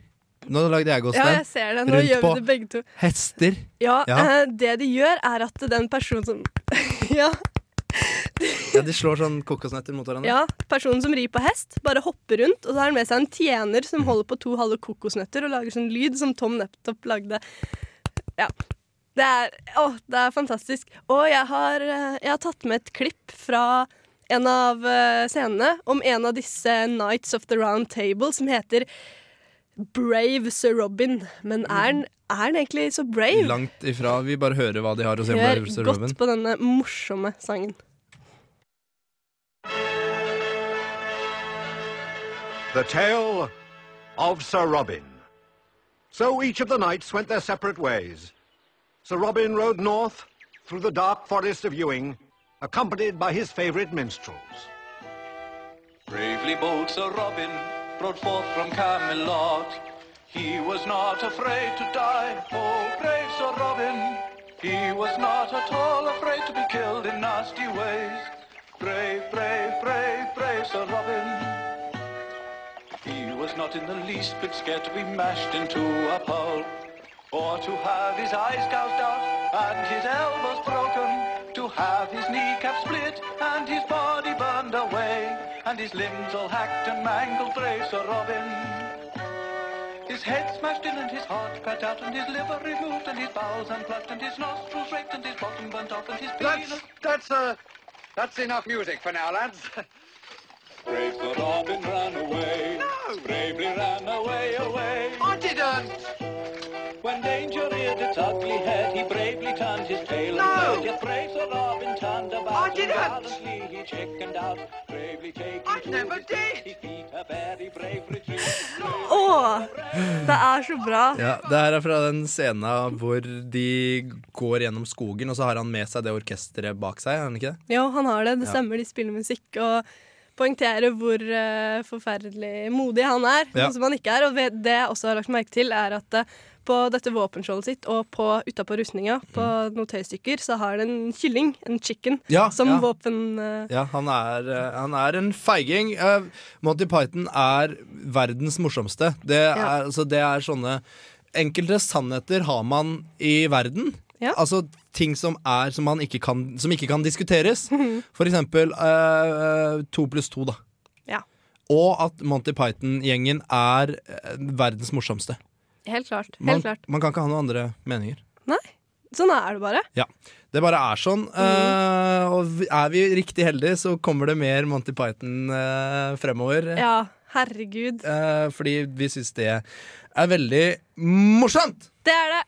Speaker 2: Nå lagde jeg
Speaker 4: Ja, jeg
Speaker 2: gåstein.
Speaker 4: ser det. Nå
Speaker 2: Rundt
Speaker 4: gjør
Speaker 2: på-
Speaker 4: vi det begge to.
Speaker 2: Hester.
Speaker 4: Ja,
Speaker 2: Ja.
Speaker 4: eh, Det de gjør, er at den personen som Ja,
Speaker 2: Ja, de slår sånn kokosnøtter mot hverandre.
Speaker 4: Ja, personen som rir på hest, bare hopper rundt, og så har han med seg en tjener
Speaker 2: Mm.
Speaker 4: som holder på to halve kokosnøtter og lager sånn lyd som Tom nettopp lagde. Ja. Det er, å, det er fantastisk. Og jeg har, eh, jeg har tatt med et klipp fra en av eh, scenene om en av disse Nights of the Round Table som heter Brave Sir Robin. Men er han, er han egentlig så brave?
Speaker 2: Mm. Langt ifra. Vi bare hører hva de har å si om
Speaker 4: Hør
Speaker 2: Brave Sir Robin.
Speaker 4: godt på denne morsomme sangen.
Speaker 8: The Tale of Sir Robin. So each of the knights went their separate ways. Sir Robin rode north through the dark forest of Ewing, accompanied by his favorite minstrels.
Speaker 9: Bravely bold Sir Robin, brought forth from Camelot. He was not afraid to die, oh brave Sir Robin. He was not at all afraid to be killed in nasty ways. Brave, brave, brave, brave Sir Robin. He was not in the least bit scared to be mashed into a pulp, or to have his eyes gouged out and his elbows broken, to have his kneecap split and his body burned away, and his limbs all hacked and mangled, brave Sir Robin. His head smashed in and his heart cut out and his liver removed and his bowels unplugged and his nostrils raked and his bottom burnt off and his penis...
Speaker 8: That's, that's, uh, that's enough music for now, lads.
Speaker 9: Brave Sir Robin ran away, bravely ran away, away.
Speaker 8: I didn't.
Speaker 9: When danger reared its ugly head, he bravely turned his tail and fled. Yet brave Sir Robin turned about
Speaker 8: I didn't.
Speaker 9: and gallantly he chickened out, bravely taking
Speaker 8: I
Speaker 9: to
Speaker 8: never
Speaker 9: his death,
Speaker 8: did.
Speaker 9: He beat a very brave retreat.
Speaker 4: Å! Det er så bra.
Speaker 2: Ja, Det her er fra den scenen hvor de går gjennom skogen, og så har han med seg det orkesteret bak seg. er han ikke det?
Speaker 4: Ja, han har det. Det stemmer, de spiller musikk og poengterer hvor eh, forferdelig modig han er,
Speaker 2: Ja.
Speaker 4: noe som han ikke er. Og ved- det jeg også har lagt merke til, er at eh, på dette våpenskjoldet sitt og på utapå rustninga, på noen tøystykker, så har det en kylling, en chicken,
Speaker 2: Mm. Ja,
Speaker 4: som
Speaker 2: ja.
Speaker 4: våpen... eh,
Speaker 2: Ja, han er, eh, han er en feiging. Eh, Monty Python er verdens morsomste. Det er,
Speaker 4: Ja.
Speaker 2: altså, det er sånne Enkelte sannheter har man i verden.
Speaker 4: Ja.
Speaker 2: Altså ting som er som, man ikke, kan, som ikke kan diskuteres. For eksempel eh, eh, to pluss to, da.
Speaker 4: Ja.
Speaker 2: Og at Monty Python-gjengen er eh, verdens morsomste.
Speaker 4: Helt klart. Helt
Speaker 2: Man,
Speaker 4: klart.
Speaker 2: man kan ikke ha noen andre meninger.
Speaker 4: Nei, sånn er det bare.
Speaker 2: Ja, det bare er sånn.
Speaker 4: Mm.
Speaker 2: eh, og vi- er vi riktig heldige, så kommer det mer Monty Python eh, fremover.
Speaker 4: Ja, herregud.
Speaker 2: Eh, fordi vi syns det er veldig morsomt!
Speaker 4: Det er det.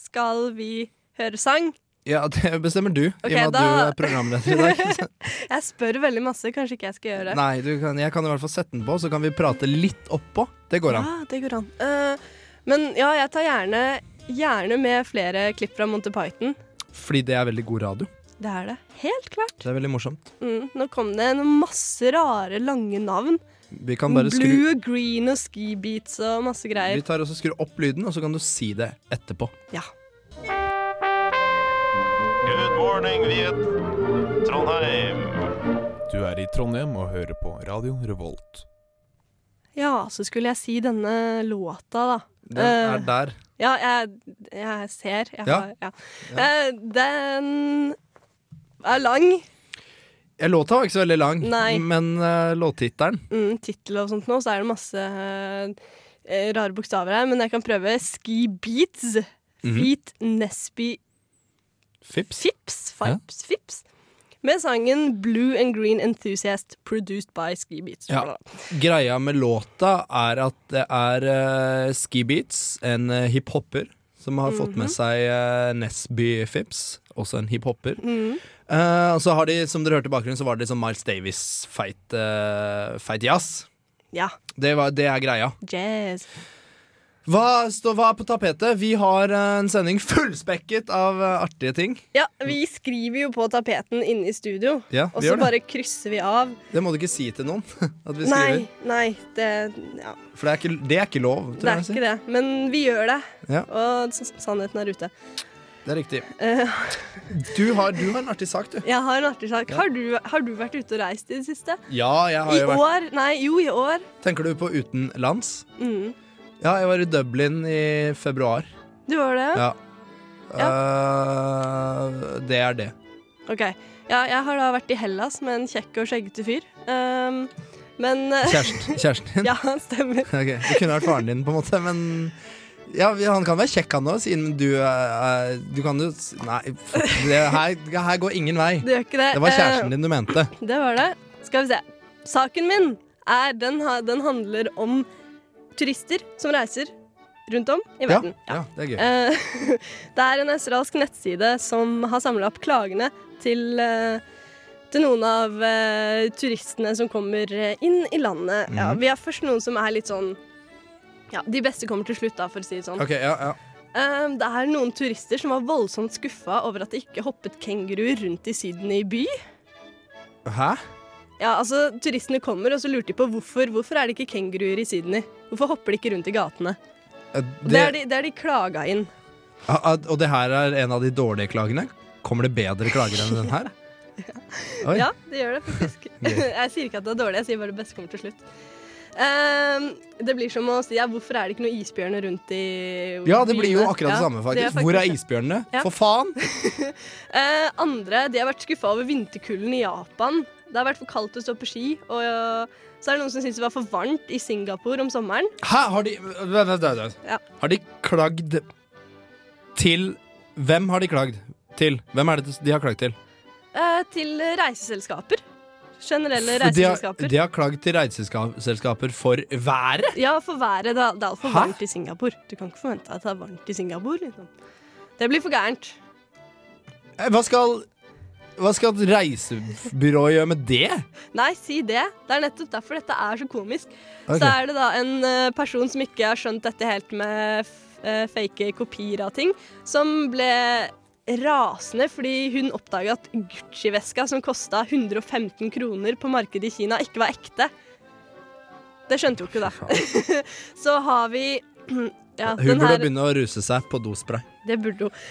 Speaker 4: Skal vi høre sang?
Speaker 2: Ja, det bestemmer du,
Speaker 4: Ok,
Speaker 2: i og med at du
Speaker 4: da-
Speaker 2: er programleder i dag.
Speaker 4: Jeg spør veldig masse, kanskje ikke jeg skal gjøre det.
Speaker 2: Nei, du kan, jeg kan i hvert fall sette den på, så kan vi prate litt oppå. Det går an.
Speaker 4: Ja, det går an. Eh, men ja, jeg tar gjerne, gjerne med flere klipp fra Monty Python.
Speaker 2: Fordi det er veldig god radio.
Speaker 4: Det er det. Helt klart.
Speaker 2: Det er veldig morsomt.
Speaker 4: Mm, nå kom det en masse rare, lange navn.
Speaker 2: Vi kan bare skru
Speaker 4: Blue og green og ski beats og masse
Speaker 2: Vi
Speaker 4: greier.
Speaker 2: tar også skru opp lyden, og så kan du si det etterpå.
Speaker 4: Ja.
Speaker 10: Good morning, Viet. Trondheim.
Speaker 11: Du er i Trondheim og hører på Radio Revolt.
Speaker 4: ja, så skulle jeg si denne låta, da.
Speaker 2: Den er
Speaker 4: Eh,
Speaker 2: der.
Speaker 4: Ja, jeg, jeg ser. Jeg
Speaker 2: Ja.
Speaker 4: Har, ja. Eh, den er lang.
Speaker 2: Ja, Låta var ikke så veldig lang,
Speaker 4: Nei.
Speaker 2: men uh, låttittelen
Speaker 4: mm, tittel og sånt nå, så er det masse eh, rare bokstaver her. Men jeg kan prøve Ski Beats.
Speaker 2: Mhm.
Speaker 4: Feet Nesby
Speaker 2: Fips.
Speaker 4: Fips. Fips, Fips. Med sangen Blue and Green Enthusiast produced by Ski Beats.
Speaker 2: Ja. Greia med låta er at det er eh, Ski Beats, en eh, hiphopper, som har fått
Speaker 4: Mhm.
Speaker 2: med seg eh, Nesby Phipps, også en hiphopper.
Speaker 4: Mhm.
Speaker 2: Eh, og så har de, som dere hørte i bakgrunnen, så var det liksom Miles Davis feit, eh, feit jazz.
Speaker 4: Ja,
Speaker 2: Det, var, det er greia.
Speaker 4: Jazz.
Speaker 2: Hva, står- hva er på tapetet? Vi har eh, en sending fullspekket av eh, artige ting.
Speaker 4: Ja, vi skriver jo på tapeten inne i studio,
Speaker 2: Ja, vi
Speaker 4: og
Speaker 2: gjør
Speaker 4: så
Speaker 2: det.
Speaker 4: bare krysser vi av.
Speaker 2: Det må du ikke si til noen. at vi skriver
Speaker 4: Nei, nei, det ja.
Speaker 2: For det er ikke, det er ikke lov. Tror
Speaker 4: Det er
Speaker 2: jeg å si.
Speaker 4: ikke det, men vi gjør det.
Speaker 2: Ja.
Speaker 4: Og s- sannheten er ute.
Speaker 2: Det er riktig.
Speaker 4: Eh.
Speaker 2: Du har, du har en artig sak, du.
Speaker 4: Jeg har en artig sak. Har, du, har du vært ute og reist i det siste?
Speaker 2: Ja, jeg har
Speaker 4: I
Speaker 2: jo vært
Speaker 4: år? Nei, jo, i år.
Speaker 2: Tenker du på utenlands?
Speaker 4: Mm.
Speaker 2: Ja, jeg var i Dublin i februar.
Speaker 4: Du var det?
Speaker 2: Ja. Eh, det er det.
Speaker 4: Ok. Ja, jeg har da vært i Hellas med en kjekk og skjeggete fyr. Um, men
Speaker 2: Kjæresten, kjæresten din?
Speaker 4: Ja, stemmer.
Speaker 2: Ok, Det kunne vært faren din, på en måte, men Ja, vi- han kan være kjekk, han òg, siden du eh, eh, Du kan jo s- Nei, fuck, det, her, her går ingen vei.
Speaker 4: Det gjør ikke det.
Speaker 2: Det var kjæresten din du mente.
Speaker 4: Eh, det var det. Skal vi se. Saken min er Den, ha- den handler om turister som reiser rundt om i
Speaker 2: Ja,
Speaker 4: verden.
Speaker 2: ja, det er gøy.
Speaker 4: Eh, det er en australsk nettside som har samla opp klagene til, eh, til noen av eh, turistene som kommer eh, inn i landet. ja, vi har først noen som er litt sånn Ja, de beste kommer til slutt, da, for å si det sånn.
Speaker 2: Ok, ja, ja.
Speaker 4: Eh, det er noen turister som var voldsomt skuffa over at det ikke hoppet kenguruer rundt i Sydney by.
Speaker 2: Hæ?
Speaker 4: Ja, altså, Turistene kommer, og så lurte de på hvorfor Hvorfor er det ikke kenguruer i Sydney. Hvorfor hopper de ikke rundt i gatene?
Speaker 2: Eh,
Speaker 4: Og det,
Speaker 2: det-
Speaker 4: er de, det er de klaga inn.
Speaker 2: Ah, ah, Og det her er en av de dårlige klagene? Kommer det bedre klager enn den her? Oi.
Speaker 4: Ja, det gjør det faktisk. jeg sier ikke at det er dårlig, jeg sier bare det beste kommer til slutt. Ehm, det blir som å si ja, hvorfor er det ikke noen isbjørner rundt i
Speaker 2: Ja, det blir jo
Speaker 4: byene?
Speaker 2: akkurat
Speaker 4: Ja,
Speaker 2: det samme,
Speaker 4: det
Speaker 2: faktisk. Hvor er
Speaker 4: det.
Speaker 2: isbjørnene?
Speaker 4: Ja.
Speaker 2: For faen!
Speaker 4: Eh, andre de har vært skuffa over vinterkulden i Japan. Det har vært for kaldt å stå på ski. Og ja, så er det noen som syns det var for varmt i Singapore om sommeren.
Speaker 2: Hæ, har de Vent, vent, vent, vent.
Speaker 4: Ja.
Speaker 2: Har de klagd til Hvem har de klagd til? Hvem er det de har klagd til?
Speaker 4: Eh, til reiseselskaper. Generelle
Speaker 2: De har,
Speaker 4: reiseselskaper.
Speaker 2: de har klagd til reiseselskaper for været?
Speaker 4: Ja, for været. Det er det er altfor
Speaker 2: Hæ?
Speaker 4: varmt i Singapore. Du kan ikke forvente at det er varmt i Singapore. Liksom. Det blir for gærent.
Speaker 2: Eh, Hva skal Hva skal et reisebyrå gjøre med det?
Speaker 4: Nei, si det. Det er nettopp derfor dette er så komisk.
Speaker 2: Ok.
Speaker 4: Så er det da en eh, person som ikke har skjønt dette helt med f- eh, fake kopier av ting, som ble rasende fordi hun oppdaga at Gucci-veska som kosta 115 kroner på markedet i Kina, ikke var ekte. Det skjønte jo ikke hun, da. så har vi ja,
Speaker 2: Hun
Speaker 4: den
Speaker 2: burde
Speaker 4: her,
Speaker 2: begynne å ruse seg på dospray.
Speaker 4: Det burde hun.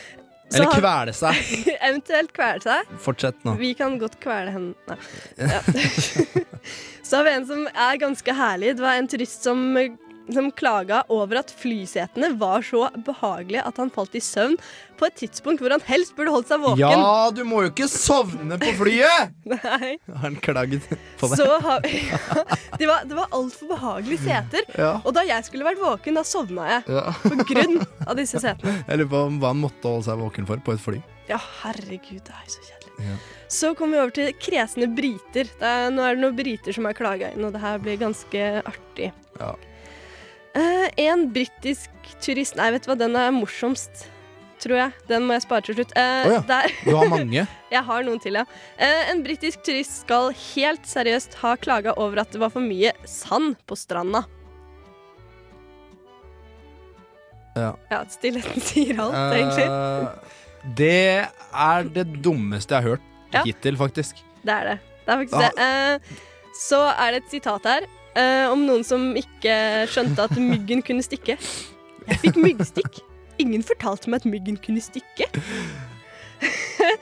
Speaker 4: Så
Speaker 2: Eller
Speaker 4: har-
Speaker 2: kvele seg.
Speaker 4: Eventuelt kvele seg.
Speaker 2: Fortsett nå.
Speaker 4: Vi kan godt kvele henne. Nei. Ja. så har vi en som er ganske herlig. Det var en turist som, som klaga over at flysetene var så behagelige at han falt i søvn på et tidspunkt hvor han helst burde holdt seg våken.
Speaker 2: Ja, du må jo ikke sovne på flyet!
Speaker 4: Nei.
Speaker 2: Har han klaget på det?
Speaker 4: Så har vi, det var, det var altfor behagelige seter.
Speaker 2: Ja.
Speaker 4: Og da jeg skulle vært våken, da sovna jeg.
Speaker 2: Ja.
Speaker 4: På grunn av disse setene.
Speaker 2: Jeg lurer på hva han måtte holde seg våken for på et fly.
Speaker 4: Ja, herregud, det er jo så kjedelig.
Speaker 2: Ja.
Speaker 4: Så kommer vi over til kresne briter. Det er, nå er det noen briter som er klaga inn, og det her blir ganske artig.
Speaker 2: Ja.
Speaker 4: Eh, en britisk turist Nei, vet du hva, den er morsomst, tror jeg. Den må jeg spare til slutt. Eh,
Speaker 2: Å ja.
Speaker 4: der,
Speaker 2: Du har mange.
Speaker 4: jeg har noen til, ja. Eh, en britisk turist skal helt seriøst ha klaga over at det var for mye sand på stranda.
Speaker 2: Ja.
Speaker 4: Ja, stillheten sier alt, egentlig.
Speaker 2: Eh, det er det dummeste jeg har hørt
Speaker 4: Ja.
Speaker 2: hittil, faktisk.
Speaker 4: Det er det. Det er faktisk det. Eh, så er det et sitat her eh, om noen som ikke skjønte at myggen kunne stikke. Jeg fikk myggstikk. Ingen fortalte meg at myggen kunne stikke.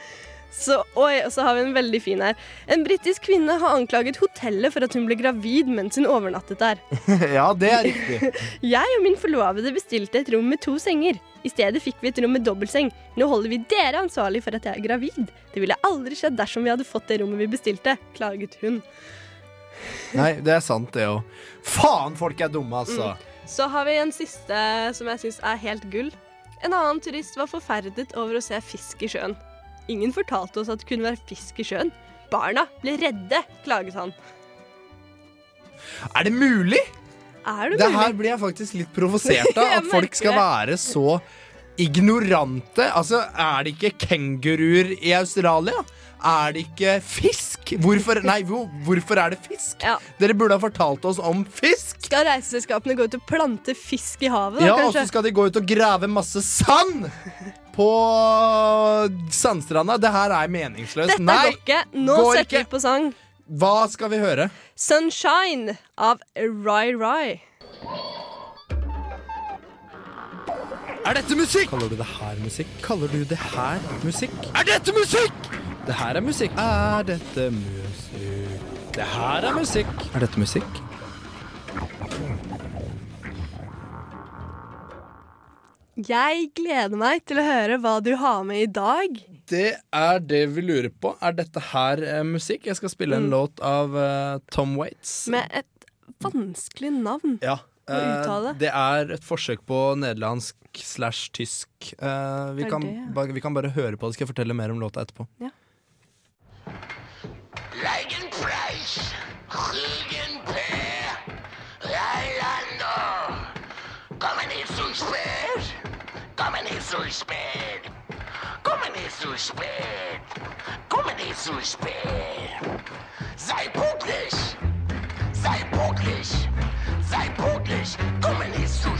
Speaker 4: Så, oi, og så har vi en veldig fin her. En britisk kvinne har anklaget hotellet for at hun ble gravid mens hun overnattet der.
Speaker 2: ja, det er riktig.
Speaker 4: Jeg og min forlovede bestilte et rom med to senger. I stedet fikk vi et rom med dobbeltseng. Nå holder vi dere ansvarlig for at jeg er gravid. Det ville aldri skjedd dersom vi hadde fått det rommet vi bestilte, klaget hun.
Speaker 2: Nei, det er sant, det òg. Faen, folk er dumme, altså.
Speaker 4: Så har vi en siste som jeg syns er helt gull. En annen turist var forferdet over å se fisk i sjøen. Ingen fortalte oss at det kunne være fisk i sjøen. Barna ble redde, klaget han.
Speaker 2: Er det mulig?
Speaker 4: Er det
Speaker 2: Det
Speaker 4: mulig?
Speaker 2: her blir jeg faktisk litt provosert av.
Speaker 4: Jeg
Speaker 2: At folk
Speaker 4: merker
Speaker 2: skal
Speaker 4: det.
Speaker 2: være så ignorante. Altså, er det ikke kenguruer i Australia? Er det ikke fisk? Hvorfor, nei, hvor, hvorfor er det fisk?
Speaker 4: Ja.
Speaker 2: Dere burde ha fortalt oss om fisk!
Speaker 4: Skal reiseselskapene gå ut og plante fisk i havet, da,
Speaker 2: Ja, og så
Speaker 4: kanskje?
Speaker 2: skal de gå ut og grave masse sand på sandstranda. Det her er meningsløst.
Speaker 4: Dette
Speaker 2: Nei!
Speaker 4: går ikke. Nå
Speaker 2: går
Speaker 4: setter
Speaker 2: ikke.
Speaker 4: vi på sang.
Speaker 2: Hva skal vi høre?
Speaker 4: 'Sunshine' av Rai Rai.
Speaker 2: Er dette musikk? Kaller du det her musikk? Kaller du det her musikk? Er dette musikk? Det her er musikk. Er dette musikk? Det her er musikk. Er dette musikk?
Speaker 4: Jeg gleder meg til å høre hva du har med i dag.
Speaker 2: Det er det vi lurer på. Er dette her eh, musikk?
Speaker 4: Mm.
Speaker 2: Jeg skal spille en låt av eh, Tom Waits.
Speaker 4: Med et vanskelig navn.
Speaker 2: Ja. Eh,
Speaker 4: uttale?
Speaker 2: det er et forsøk på nederlandsk slash tysk. Eh, vi,
Speaker 4: Er
Speaker 2: kan,
Speaker 4: det?
Speaker 2: ba, vi kan bare høre på det, skal jeg fortelle mer om låta etterpå.
Speaker 9: Eigenpreis, Rügenpeer, Rheinlander. Kommen nicht zu spät, kommen nicht zu spät, kommen nicht zu spät, kommen nicht zu spät. Sei pünktlich, sei pünktlich, sei pünktlich, kommen nicht zu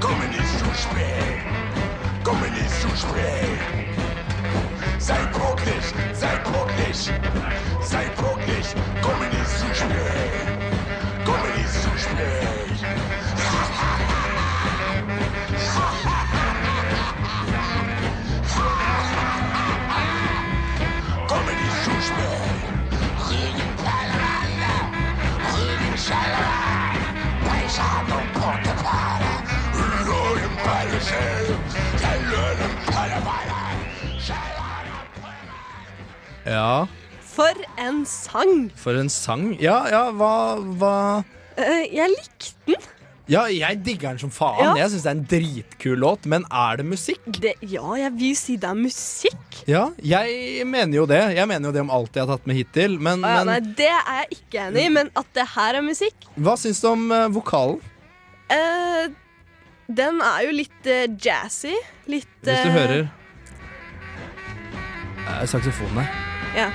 Speaker 9: Kommen nicht so spät, kommen nicht so spät. Sei pünktlich, sei pünktlich, sei pünktlich, komme nicht zu spät, komme nicht zu spät. Komme nicht zu spät, Regen Palanda, Regen Schalala, Paisat und Portefala, Löhnen Palacel, der Löhnen Palabala, Schalala.
Speaker 2: Ja,
Speaker 4: For en sang!
Speaker 2: for en sang. Ja, ja, hva, hva
Speaker 4: Eh, jeg likte den.
Speaker 2: Ja, jeg digger den som faen.
Speaker 4: Ja.
Speaker 2: Jeg syns det er en dritkul låt, men er det musikk?
Speaker 4: Det, ja, jeg vil si det er musikk.
Speaker 2: Ja, jeg mener jo det. Jeg mener jo det om alt jeg har tatt med hittil. Men,
Speaker 4: Å ja, nei,
Speaker 2: men
Speaker 4: det er jeg ikke enig i, men at det her er musikk
Speaker 2: hva syns du om eh, vokalen?
Speaker 4: eh, Den er jo litt eh, jazzy. Litt
Speaker 2: Hvis du
Speaker 4: eh,
Speaker 2: hører Eh, Saksofonen her.
Speaker 4: Ja.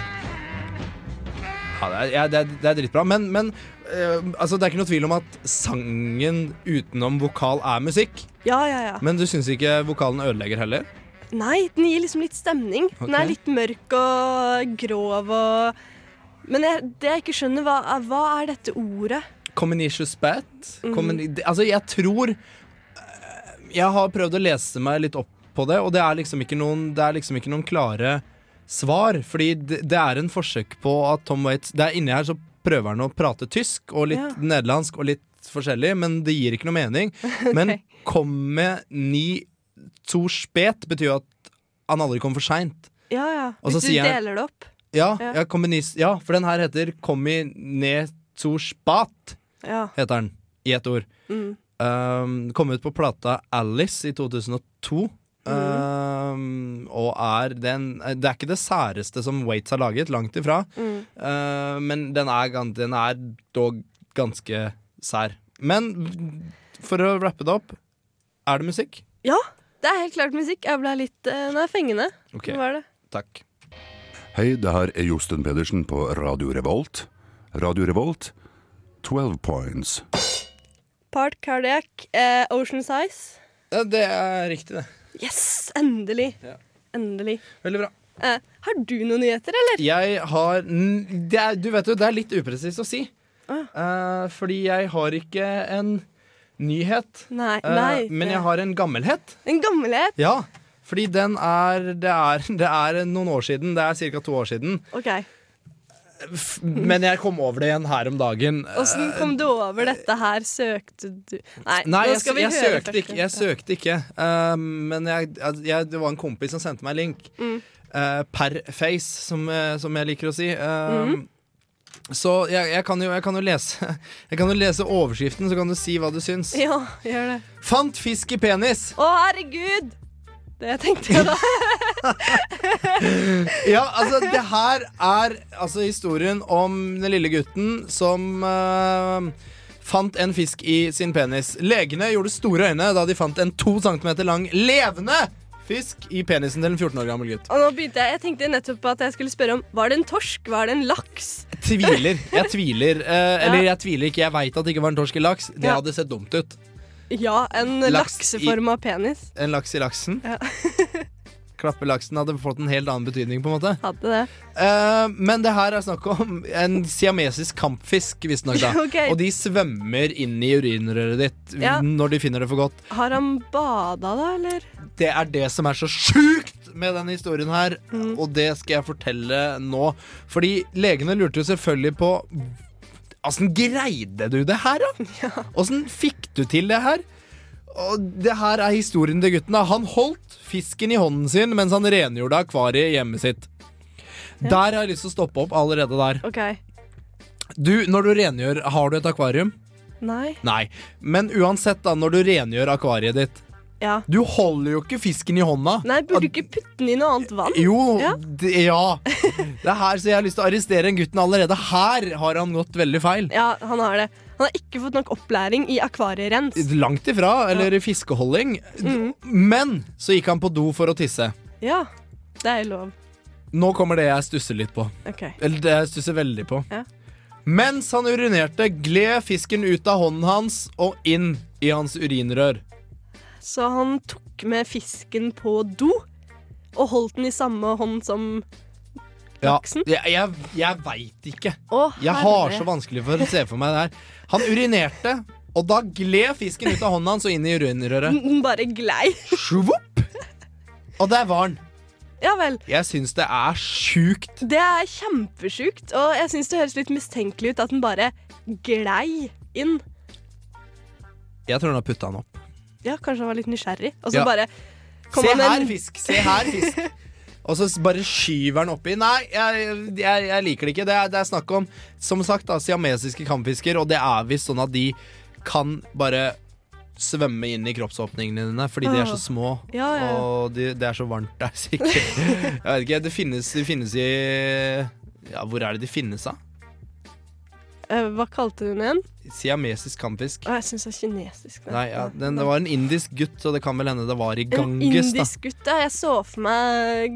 Speaker 2: Ja, det er, ja, det er, det er dritbra. Men, men eh, altså, det er ikke noe tvil om at sangen utenom vokal er musikk.
Speaker 4: ja, ja, ja.
Speaker 2: Men du syns ikke vokalen ødelegger heller?
Speaker 4: Nei, den gir liksom litt stemning. Den
Speaker 2: Ok.
Speaker 4: er litt mørk og grov og Men jeg, det jeg ikke skjønner, hva, er- hva er dette ordet?
Speaker 2: Comminicious Bat?
Speaker 4: Mhm.
Speaker 2: Communi- det- Altså, jeg tror eh, Jeg har prøvd å lese meg litt opp på det, og det er liksom ikke noen, det er liksom ikke noen klare svar. Fordi det, det er en forsøk på at Tom Waits Det er inni her, så prøver han å prate tysk og litt
Speaker 4: Ja.
Speaker 2: nederlandsk og litt forskjellig, men det gir ikke noe mening. Men kom med ni to spet betyr jo at han aldri kom for seint.
Speaker 4: Ja, ja.
Speaker 2: Og så
Speaker 4: Hvis du
Speaker 2: sier jeg-
Speaker 4: deler det opp.
Speaker 2: Ja,
Speaker 4: Ja.
Speaker 2: ja. kommunis- ja, for den her heter Komminezorspat
Speaker 4: Ja.
Speaker 2: heter den, i ett ord.
Speaker 4: Mm.
Speaker 2: Um, kom ut på plata Alice i 2002.
Speaker 4: Mm.
Speaker 2: Um, og er den Det er ikke det særeste som Waits har laget, langt ifra.
Speaker 4: Mm.
Speaker 2: Uh, men den er, gan- den er dog ganske sær. Men for å rappe det opp, er det musikk?
Speaker 4: ja, det er helt klart musikk. Jeg ble litt eh, Nei, fengende.
Speaker 2: Ok.
Speaker 4: Hva er det?
Speaker 2: Takk.
Speaker 9: Hei, det her er Josten Pedersen på Radio Revolt. Radio Revolt, 12 points.
Speaker 4: Part cardiac, eh, ocean size.
Speaker 2: Ja, det er riktig, det.
Speaker 4: Yes! Endelig. Endelig.
Speaker 2: Veldig bra.
Speaker 4: Eh, har du noen nyheter, eller?
Speaker 2: Jeg har n- det er, Du vet jo, det er litt upresist å si.
Speaker 4: Ah.
Speaker 2: Eh, fordi jeg har ikke en nyhet.
Speaker 4: Nei.
Speaker 2: Eh,
Speaker 4: nei
Speaker 2: men
Speaker 4: det-
Speaker 2: jeg har en gammelhet.
Speaker 4: En gammelhet.
Speaker 2: Ja, fordi den er det, er det er noen år siden. Det er ca. to år siden.
Speaker 4: OK.
Speaker 2: F- Men jeg kom over det igjen her om dagen.
Speaker 4: Åssen kom du over dette her? Søkte du Nei,
Speaker 2: Eh, Nei,
Speaker 4: nå
Speaker 2: jeg,
Speaker 4: skal vi
Speaker 2: jeg,
Speaker 4: høre
Speaker 2: søkte
Speaker 4: først.
Speaker 2: ikke, jeg søkte ikke. eh, men jeg, jeg, det var en kompis som sendte meg en link.
Speaker 4: Mm.
Speaker 2: eh, per face, som, eh, som jeg liker å si. Eh,
Speaker 4: Mm-hmm.
Speaker 2: Så jeg, jeg, kan jo, jeg kan jo lese Jeg kan jo lese overskriften, så kan du si hva du syns.
Speaker 4: Ja, gjør det.
Speaker 2: Fant fisk i penis!
Speaker 4: Å, herregud! Det tenkte jeg da.
Speaker 2: Ja, altså det her er altså, historien om den lille gutten som eh, fant en fisk i sin penis. Legene gjorde store øyne da de fant en to centimeter lang levende fisk i penisen til en 14 år gammel gutt.
Speaker 4: Og nå begynte jeg, jeg tenkte nettopp at jeg skulle spørre om Var det en torsk? Var det en laks?
Speaker 2: Tviler. Jeg tviler. Eh,
Speaker 4: Ja.
Speaker 2: Eller jeg tviler ikke. Jeg veit at det ikke var en torsk i laks. Det
Speaker 4: Ja.
Speaker 2: hadde sett dumt ut.
Speaker 4: Ja, en
Speaker 2: Laks i-
Speaker 4: lakseforma penis.
Speaker 2: En laks i laksen.
Speaker 4: Ja.
Speaker 2: Klappelaksen hadde fått en helt annen betydning, på en måte.
Speaker 4: Hadde det.
Speaker 2: Eh, men det her er snakk om en siamesisk kampfisk, visstnok. da.
Speaker 4: Ok.
Speaker 2: Og de svømmer inn i urinrøret ditt
Speaker 4: Ja.
Speaker 2: når de finner det for godt.
Speaker 4: Har han bada, da, eller?
Speaker 2: Det er det som er så sjukt med denne historien her,
Speaker 4: Mm.
Speaker 2: og det skal jeg fortelle nå. Fordi legene lurte jo selvfølgelig på Åssen greide du det her, da? Åssen fikk du til det her? Og det her er historien til gutten. da Han holdt fisken i hånden sin mens han rengjorde akvariet i hjemmet sitt. Der har jeg lyst til å stoppe opp allerede der.
Speaker 4: OK.
Speaker 2: Du, når du rengjør, har du et akvarium?
Speaker 4: Nei.
Speaker 2: Nei. Men uansett, da, når du rengjør akvariet ditt
Speaker 4: Ja.
Speaker 2: Du holder jo ikke fisken i hånda.
Speaker 4: Nei, burde du ikke putte den i noe annet vann?
Speaker 2: Jo,
Speaker 4: Ja.
Speaker 2: det, ja. Det er her, så jeg har lyst til å arrestere en gutten allerede. Her har han gått veldig feil.
Speaker 4: Ja, han har det. Han har ikke fått nok opplæring i akvarierens.
Speaker 2: Langt ifra, eller fiskeholding.
Speaker 4: Mm.
Speaker 2: Men så gikk han på do for å tisse.
Speaker 4: Ja, det er jo lov.
Speaker 2: Nå kommer det jeg stusser litt på.
Speaker 4: OK.
Speaker 2: Eller det jeg stusser veldig på.
Speaker 4: Ja.
Speaker 2: Mens han urinerte, gled fisken ut av hånden hans og inn i hans urinrør.
Speaker 4: Så han tok med fisken på do og holdt den i samme hånd som
Speaker 2: Ja,
Speaker 4: Laksen?
Speaker 2: jeg jeg, jeg veit ikke.
Speaker 4: Å,
Speaker 2: Jeg har
Speaker 4: herre.
Speaker 2: så vanskelig for å se for meg det her. Han urinerte, og da gled fisken ut av hånda hans og inn i urinrøret.
Speaker 4: Den bare glei.
Speaker 2: Svopp! Og der var han.
Speaker 4: Ja vel.
Speaker 2: Jeg syns det er sjukt.
Speaker 4: Det er kjempesjukt, og jeg syns det høres litt mistenkelig ut at den bare glei inn.
Speaker 2: Jeg tror han har putta han opp.
Speaker 4: Ja, kanskje han var litt nysgjerrig, og så
Speaker 2: Ja.
Speaker 4: bare kom
Speaker 2: Se
Speaker 4: han
Speaker 2: her,
Speaker 4: en-
Speaker 2: fisk! Se her, fisk! Og så s- bare skyver han oppi. Nei, jeg, jeg, jeg liker det ikke. Det er, det er snakk om som sagt, da, siamesiske kamfisker, og det er visst sånn at de kan bare svømme inn i kroppsåpningene dine fordi de er så små.
Speaker 4: Ja, ja, ja.
Speaker 2: Og de, det er så varmt der, sikkert. Jeg vet ikke, det finnes, det finnes i Ja, hvor er det de finnes, da?
Speaker 4: Eh, Hva kalte du den igjen?
Speaker 2: Siamesisk kamfisk.
Speaker 4: Å, jeg syns det er kinesisk. det.
Speaker 2: Nei, ja, den, det var en indisk gutt, så det kan vel hende det var i
Speaker 4: En
Speaker 2: Ganges, da.
Speaker 4: indisk gutt, ja. Jeg så for meg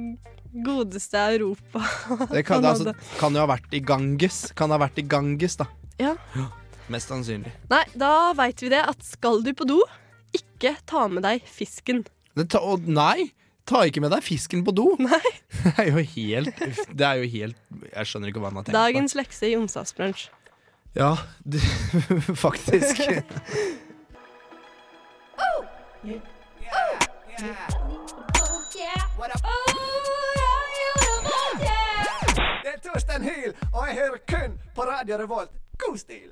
Speaker 4: godeste Europa.
Speaker 2: Det kan,
Speaker 4: Han
Speaker 2: det, altså,
Speaker 4: hadde-
Speaker 2: kan jo ha vært i Ganges. Kan ha vært i Ganges, da.
Speaker 4: Ja.
Speaker 2: Mest sannsynlig.
Speaker 4: Nei, da veit vi det, at skal du på do, ikke ta med deg fisken.
Speaker 2: Det ta, å, nei! Ta ikke med deg fisken på do!
Speaker 4: Nei.
Speaker 2: Det er jo helt uff, Det er jo helt Jeg skjønner ikke hva han har tenkt
Speaker 4: Dagens lekse i onsdagsbrunsj.
Speaker 2: på. Ja, det, faktisk.
Speaker 5: Det er Torstein Hyl, og jeg hører kun på Radio Revolt. God stil!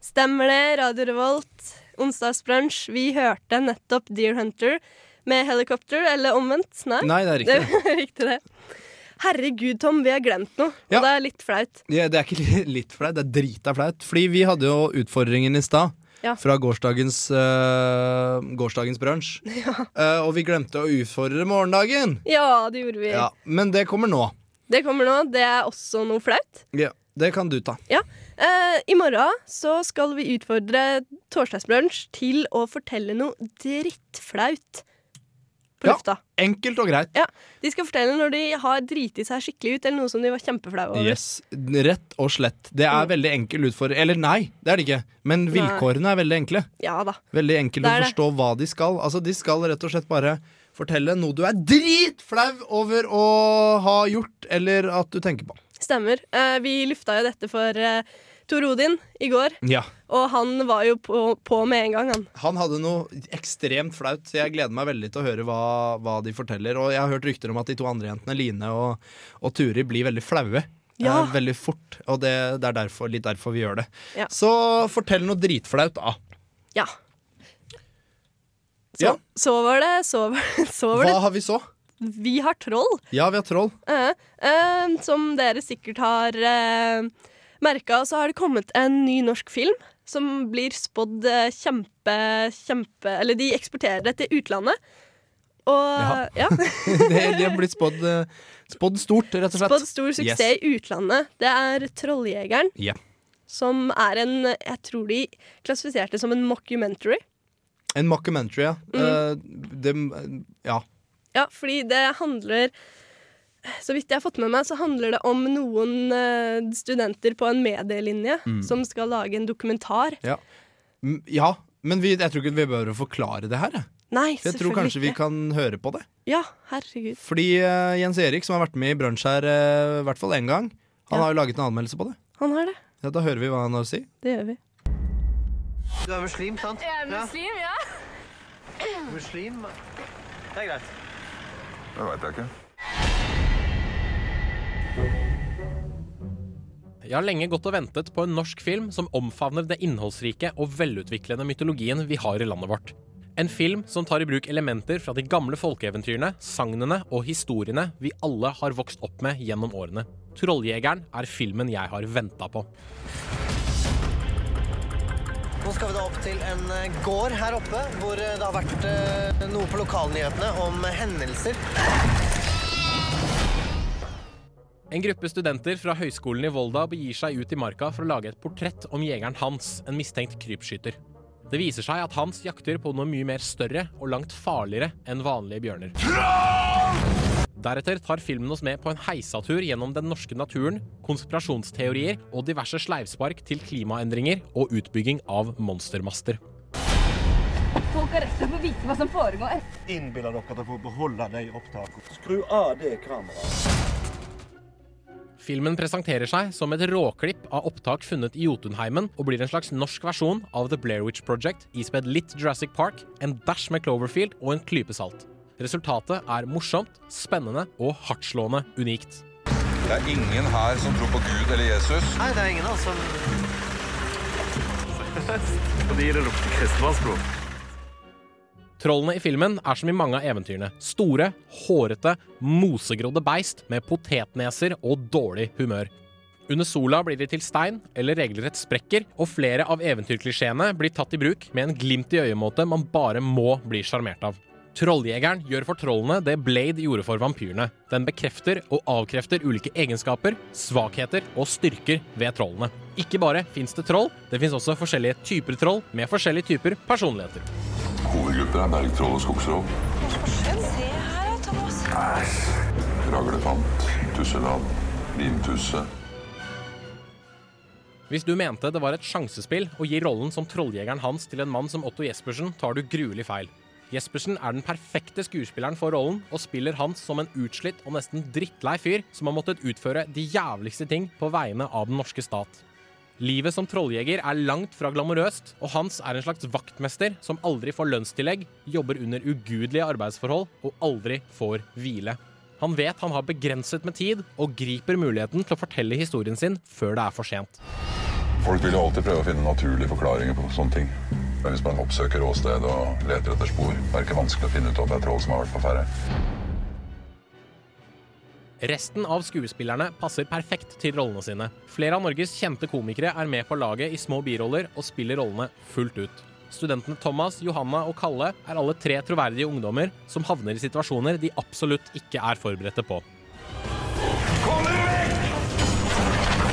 Speaker 4: Stemmer det, Radio Revolt, onsdagsbrunsj. Vi hørte nettopp Deer Hunter med helikopter, eller omvendt. Nei,
Speaker 2: Nei, det er riktig.
Speaker 4: Det, riktig det. Herregud, Tom, vi har glemt noe. Og
Speaker 2: Ja.
Speaker 4: det er litt flaut.
Speaker 2: Ja, det er ikke li- litt flaut, det er drita flaut. Fordi vi hadde jo utfordringen i stad.
Speaker 4: Ja.
Speaker 2: Fra gårsdagens uh, Gårsdagens brunsj. Eh, og vi glemte å utfordre morgendagen.
Speaker 4: Ja, det gjorde vi.
Speaker 2: Ja, men det kommer nå.
Speaker 4: Det kommer nå. Det er også noe flaut.
Speaker 2: Ja, det kan du ta.
Speaker 4: Ja. Eh, I morgen så skal vi utfordre Torsdagsbrunsj til å fortelle noe drittflaut på
Speaker 2: Ja.
Speaker 4: lufta.
Speaker 2: Enkelt og greit.
Speaker 4: Ja. De skal fortelle når de har driti seg skikkelig ut, eller noe som de var kjempeflaue over.
Speaker 2: Yes, Rett og slett. Det
Speaker 4: Mm.
Speaker 2: er veldig enkel utfordring. Eller nei, det er det ikke. Men vilkårene er veldig enkle.
Speaker 4: Ja da.
Speaker 2: Veldig enkelt
Speaker 4: Det
Speaker 2: å
Speaker 4: er det.
Speaker 2: forstå hva de skal. Altså, De skal rett og slett bare fortelle noe du er dritflau over å ha gjort, eller at du tenker på.
Speaker 4: Stemmer. Eh, vi lufta jo dette for eh, Tor Odin i går,
Speaker 2: Ja.
Speaker 4: og han var jo på, på med en gang, han.
Speaker 2: Han hadde noe ekstremt flaut, så jeg gleder meg veldig til å høre hva, hva de forteller. Og jeg har hørt rykter om at de to andre jentene, Line og, og Turi, blir veldig flaue.
Speaker 4: Ja.
Speaker 2: eh, Veldig fort, og det, det er derfor, litt derfor vi gjør det.
Speaker 4: Ja.
Speaker 2: Så fortell noe dritflaut, da.
Speaker 4: Ja. Så,
Speaker 2: Ja.
Speaker 4: så var det Så var, så var
Speaker 2: Hva
Speaker 4: det
Speaker 2: har vi så?
Speaker 4: Vi har troll,
Speaker 2: Ja, vi har troll.
Speaker 4: eh, eh, som dere sikkert har uh, merka. Så har det kommet en ny norsk film som blir spådd eh, kjempe, kjempe Eller de eksporterer det til utlandet. Og ja.
Speaker 2: Det, de har blitt spådd, eh, spådd stort, rett og slett.
Speaker 4: Spådd stor suksess i utlandet. Det er Trolljegeren.
Speaker 2: Ja.
Speaker 4: som er en Jeg tror de klassifiserte det som en mockumentary.
Speaker 2: En mockumentary, ja.
Speaker 4: Mm.
Speaker 2: Eh, det, ja.
Speaker 4: Ja, fordi det handler Så vidt jeg har fått med meg, så handler det om noen eh, studenter på en medielinje
Speaker 2: Mm.
Speaker 4: som skal lage en dokumentar.
Speaker 2: Ja, M- ja men vi, jeg tror ikke vi behøver å forklare det her. jeg.
Speaker 4: Nei,
Speaker 2: For jeg tror
Speaker 4: selvfølgelig
Speaker 2: kanskje vi
Speaker 4: ikke.
Speaker 2: kan høre på det.
Speaker 4: Ja, herregud.
Speaker 2: Fordi eh, Jens Erik, som har vært med i Brunsj her eh, i hvert fall én gang, han har jo laget en anmeldelse på det.
Speaker 4: Han har det.
Speaker 2: Ja, da hører vi hva han har å si.
Speaker 4: Det gjør vi.
Speaker 12: Du er muslim, sant?
Speaker 13: Jeg er muslim, ja.
Speaker 12: Muslim? Det er greit.
Speaker 14: Det veit jeg ikke.
Speaker 15: Jeg har lenge gått og ventet på en norsk film som omfavner det innholdsrike og velutviklende mytologien vi har i landet vårt. En film som tar i bruk elementer fra de gamle folkeeventyrene, sagnene og historiene vi alle har vokst opp med gjennom årene. 'Trolljegeren' er filmen jeg har venta på.
Speaker 12: Nå skal vi da opp til en eh, gård her oppe, hvor eh, det har vært eh, noe på lokalnyhetene om eh, hendelser.
Speaker 15: En gruppe studenter fra Høgskolen i Volda begir seg ut i marka for å lage et portrett om jegeren Hans, en mistenkt krypskytter. Det viser seg at Hans jakter på noe mye mer større og langt farligere enn vanlige bjørner. Deretter tar filmen oss med på en heisatur gjennom den norske naturen, konspirasjonsteorier og diverse sleivspark til klimaendringer og utbygging av monstermaster.
Speaker 13: Folk har rett til å få vite hva som foregår.
Speaker 8: Innbiller dere at dere får beholde de opptakene?
Speaker 5: Skru av det kameraet.
Speaker 15: Filmen presenterer seg som et råklipp av opptak funnet i Jotunheimen, og blir en slags norsk versjon av The Blair Witch Project, ispedd litt Jurassic Park, en dæsj med Cloverfield og en klype salt. Resultatet er morsomt, spennende og hardtslående unikt.
Speaker 14: Det er ingen her som tror på Gud eller Jesus.
Speaker 12: Nei, det er ingen av oss som
Speaker 14: Fordi det lukter kristendom, bro.
Speaker 15: Trollene i filmen er som i mange av eventyrene. Store, hårete, mosegrodde beist med potetneser og dårlig humør. Under sola blir de til stein eller regelrett sprekker, og flere av eventyrklisjeene blir tatt i bruk med en glimt i øyemåte man bare må bli sjarmert av. Trolljegeren gjør for trollene det Blade gjorde for vampyrene. Den bekrefter og avkrefter ulike egenskaper, svakheter og styrker ved trollene. Ikke bare fins det troll, det fins også forskjellige typer troll med forskjellige typer personligheter.
Speaker 14: Hovedgrupper er bergtroll og skogstroll.
Speaker 13: Se her, da, Thomas.
Speaker 14: Æsj. Raglefant, tusseland, limtusse.
Speaker 15: Hvis du mente det var et sjansespill å gi rollen som trolljegeren hans til en mann som Otto Jespersen, tar du gruelig feil. Jespersen er den perfekte skuespilleren for rollen, og spiller Hans som en utslitt og nesten drittlei fyr som har måttet utføre de jævligste ting på vegne av den norske stat. Livet som trolljeger er langt fra glamorøst, og Hans er en slags vaktmester som aldri får lønnstillegg, jobber under ugudelige arbeidsforhold og aldri får hvile. Han vet han har begrenset med tid, og griper muligheten til å fortelle historien sin før det er for sent.
Speaker 14: Folk vil jo alltid prøve å finne naturlige forklaringer på sånne ting. Men hvis man oppsøker åstedet og leter etter spor, er det ikke vanskelig å finne ut at det er troll som har vært på ferde.
Speaker 15: Resten av skuespillerne passer perfekt til rollene sine. Flere av Norges kjente komikere er med på laget i små biroller og spiller rollene fullt ut. Studentene Thomas, Johanna og Kalle er alle tre troverdige ungdommer som havner i situasjoner de absolutt ikke er forberedte på.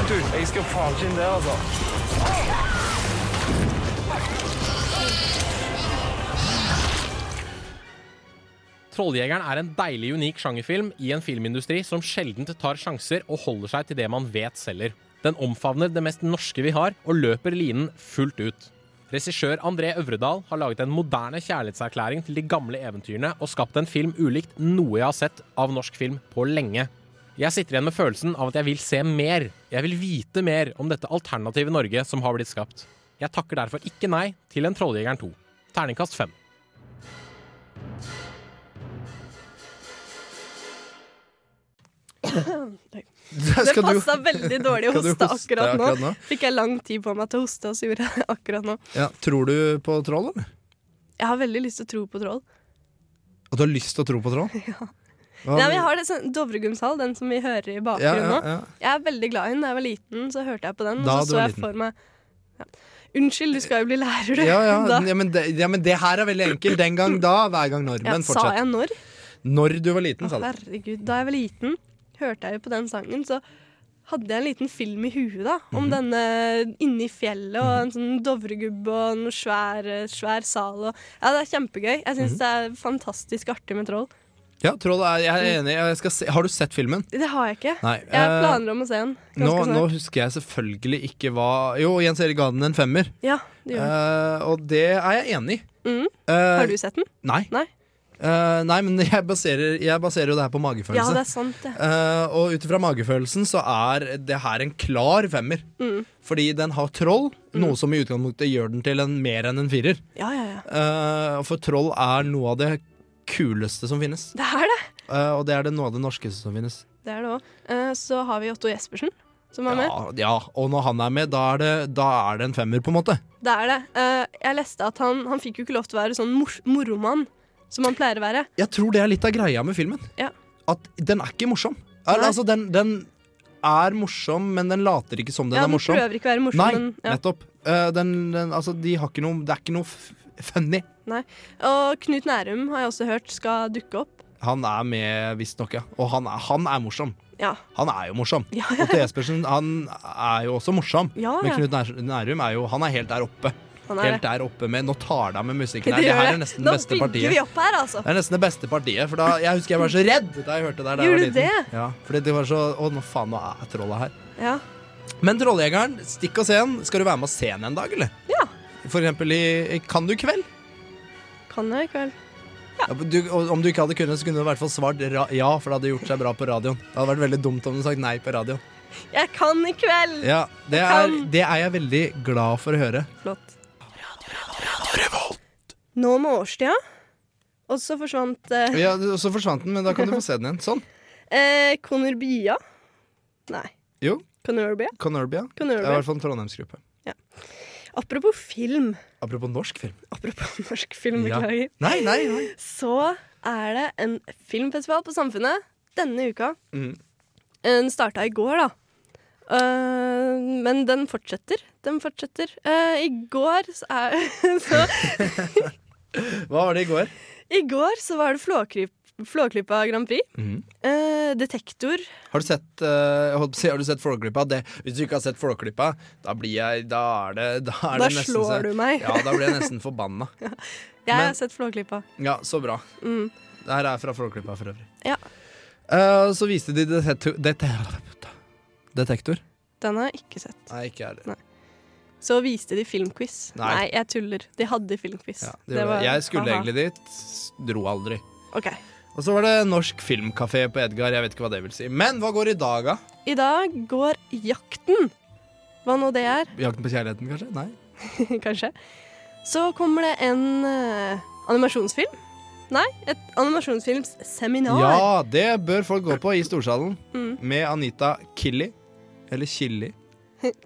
Speaker 5: Du, jeg skal faen ikke inn der, altså.
Speaker 15: Trolljegeren er en deilig unik sjangerfilm i en filmindustri som sjelden tar sjanser og holder seg til det man vet selger. Den omfavner det mest norske vi har, og løper linen fullt ut. Regissør André Øvredal har laget en moderne kjærlighetserklæring til de gamle eventyrene og skapt en film ulikt noe jeg har sett av norsk film på lenge. Jeg sitter igjen med følelsen av at jeg vil se mer. Jeg vil vite mer om dette alternative Norge som har blitt skapt. Jeg takker derfor ikke nei til en Trolljegeren 2. Terningkast 5.
Speaker 4: Det
Speaker 2: Skal du-
Speaker 4: passa veldig dårlig å
Speaker 2: Skal du
Speaker 4: hoste
Speaker 2: hoste
Speaker 4: akkurat nå.
Speaker 2: akkurat nå?
Speaker 4: Fikk jeg lang tid på meg til å hoste, og så gjorde jeg det akkurat nå.
Speaker 2: Ja, tror du på troll, eller?
Speaker 4: Jeg har veldig lyst til å tro på troll.
Speaker 2: At du har lyst til å tro på troll? Hva-
Speaker 4: Nei, men jeg har det sånn Dovregumshall, den som vi hører i bakgrunnen
Speaker 2: Ja,
Speaker 4: nå.
Speaker 2: ja, ja.
Speaker 4: Jeg er veldig glad i den. Da jeg var liten, så hørte jeg på den.
Speaker 2: Da
Speaker 4: og
Speaker 2: du
Speaker 4: så så
Speaker 2: var
Speaker 4: jeg
Speaker 2: liten.
Speaker 4: for meg ja. Unnskyld, du skal jo bli lærer, du.
Speaker 2: ja, ja,
Speaker 4: Da-
Speaker 2: ja, men det, ja, men det her er veldig enkelt. Den gang da, hver gang når.
Speaker 4: Ja,
Speaker 2: Men
Speaker 4: sa jeg
Speaker 2: fortsett.
Speaker 4: når?
Speaker 2: Når du var liten, sa du.
Speaker 4: Herregud, da jeg var liten, hørte jeg jo på den sangen, så hadde jeg en liten film i huet da,
Speaker 2: Mhm.
Speaker 4: om denne inne i fjellet og en sånn dovregubb og en svær, svær sal. Og, ja, det er kjempegøy. Jeg
Speaker 2: Mhm.
Speaker 4: syns det er fantastisk artig med troll.
Speaker 2: Ja, troll er, jeg er enig. Jeg skal se, har du sett filmen?
Speaker 4: Det har jeg ikke.
Speaker 2: Nei,
Speaker 4: jeg
Speaker 2: eh,
Speaker 4: planer om å se den
Speaker 2: Nå,
Speaker 4: ganske
Speaker 2: nå
Speaker 4: snart.
Speaker 2: husker jeg selvfølgelig ikke hva Jo, Jens Erik ga den en femmer.
Speaker 4: Ja, det gjør jeg.
Speaker 2: Eh, og det er jeg enig i.
Speaker 4: Mm.
Speaker 2: Eh,
Speaker 4: Har du sett den?
Speaker 2: Nei.
Speaker 4: Nei.
Speaker 2: Eh, nei, men jeg baserer, jeg baserer jo det her på magefølelse.
Speaker 4: Ja, det er sant, det.
Speaker 2: Eh, og ut ifra magefølelsen så er det her en klar femmer.
Speaker 4: Mm.
Speaker 2: Fordi den har troll, noe som i utgangspunktet gjør den til en mer enn en firer.
Speaker 4: Ja, ja, ja.
Speaker 2: Eh, for troll er noe av det kuleste som finnes.
Speaker 4: Det er det.
Speaker 2: Eh, og det er det noe av det norskeste som finnes.
Speaker 4: Det er det òg. så har vi Otto Jespersen, som er med.
Speaker 2: Ja, ja, og når han er med, da er, det, da er det en femmer, på en måte.
Speaker 4: Det er det. Eh, jeg leste at han, han fikk jo ikke lov til å være sånn mor moromann, som han pleier å være.
Speaker 2: Jeg tror det er litt av greia med filmen.
Speaker 4: Ja.
Speaker 2: At den er ikke morsom. Al altså, den, den er morsom, men den later ikke som den
Speaker 4: Ja,
Speaker 2: er
Speaker 4: den
Speaker 2: morsom.
Speaker 4: prøver ikke å være morsom,
Speaker 2: Nei,
Speaker 4: men- ja.
Speaker 2: nettopp. Eh, den, den, altså, de har ikke noe, det er ikke noe f- funny.
Speaker 4: Nei. Og Knut Nærum har jeg også hørt skal dukke opp.
Speaker 2: Han er med, visstnok, ja. Og han er, han er morsom.
Speaker 4: Ja.
Speaker 2: Han er jo morsom. Otto Jespersen han er jo også morsom,
Speaker 4: Ja,
Speaker 2: men
Speaker 4: ja.
Speaker 2: Knut Nær- Nærum er jo, han er helt der oppe.
Speaker 4: Han er
Speaker 2: helt
Speaker 4: det.
Speaker 2: der oppe med Nå tar det av med musikken
Speaker 4: Det
Speaker 2: her. Det
Speaker 4: gjør
Speaker 2: her
Speaker 4: det.
Speaker 2: er nesten
Speaker 4: Nå
Speaker 2: det beste
Speaker 4: bygger
Speaker 2: partiet.
Speaker 4: vi opp her, altså.
Speaker 2: Det er nesten det beste partiet. For da, jeg husker jeg var så redd da jeg hørte det. her da jeg var
Speaker 4: Gjorde du
Speaker 2: liten.
Speaker 4: det?
Speaker 2: Ja, fordi det var så Å, nå faen, nå er trollet her.
Speaker 4: Ja.
Speaker 2: Men Trolljegeren, stikk og se den. Skal du være med og se den en dag, eller?
Speaker 4: Ja.
Speaker 2: For eksempel i i Kan du kveld?
Speaker 4: Kan jeg i kveld.
Speaker 2: Ja, Du, og om du ikke hadde kunnet, så kunne du i hvert fall svart ra ja, for det hadde gjort seg bra på radioen. Det hadde vært veldig dumt om du sagt nei på radioen.
Speaker 4: Jeg kan i kveld!
Speaker 2: Ja, det
Speaker 4: Jeg
Speaker 2: er,
Speaker 4: kan.
Speaker 2: det er jeg veldig glad for å høre.
Speaker 4: Flott. Nå med årstida, og så forsvant eh,
Speaker 2: Ja, du- så forsvant den, men da kan du få se den igjen. Sånn.
Speaker 4: eh, Conurbia. Nei,
Speaker 2: Jo.
Speaker 4: Conurbia.
Speaker 2: Conurbia.
Speaker 4: Conurbia.
Speaker 2: Det er i hvert fall en trondheimsgruppe.
Speaker 4: Apropos film.
Speaker 2: Apropos norsk film.
Speaker 4: Apropos norsk film,
Speaker 2: Ja.
Speaker 4: Mm, beklager.
Speaker 2: Nei, nei, nei.
Speaker 4: Så er det en filmfestival på Samfunnet denne uka.
Speaker 2: Mm.
Speaker 4: Eh, Den starta i går, da. Eh, men den fortsetter. Den fortsetter. Eh, I går så er så,
Speaker 2: Hva var det i går?
Speaker 4: I går så var det Flåklyp, Flåklypa Grand Prix.
Speaker 2: Mhm.
Speaker 4: Eh, Detektor.
Speaker 2: Har du sett, eh, jeg holdt på å si, har du sett Flåklypa? Det, hvis du ikke har sett Flåklypa, da blir jeg Da er det Da, er
Speaker 4: Da
Speaker 2: det nesten,
Speaker 4: slår
Speaker 2: så-
Speaker 4: du meg.
Speaker 2: Ja, da blir jeg nesten forbanna.
Speaker 4: Jeg
Speaker 2: Men-
Speaker 4: har sett Flåklypa.
Speaker 2: Ja, så bra.
Speaker 4: Mm.
Speaker 2: Det her er fra Flåklypa for øvrig.
Speaker 4: Ja.
Speaker 2: Eh, så viste de detektor, detektor.
Speaker 4: Den har jeg ikke sett.
Speaker 2: Nei, ikke jeg heller.
Speaker 4: Så viste de filmquiz.
Speaker 2: Nei.
Speaker 4: jeg tuller. De hadde filmquiz.
Speaker 2: Det gjorde
Speaker 4: var-
Speaker 2: jeg. Jeg skulle
Speaker 4: aha.
Speaker 2: egentlig dit, dro aldri.
Speaker 4: Ok.
Speaker 2: Og så var det Norsk Filmkafé på Edgar. Jeg vet ikke hva det vil si. Men hva går i dag, da?
Speaker 4: I dag går Jakten. Hva nå det er,
Speaker 2: Jakten på kjærligheten, kanskje? Nei.
Speaker 4: kanskje. Så kommer det en eh, animasjonsfilm. Nei, et animasjonsfilmsseminar.
Speaker 2: Ja, det bør folk gå på i Storsalen.
Speaker 4: Mm.
Speaker 2: Med Anita Killi. Eller Killi.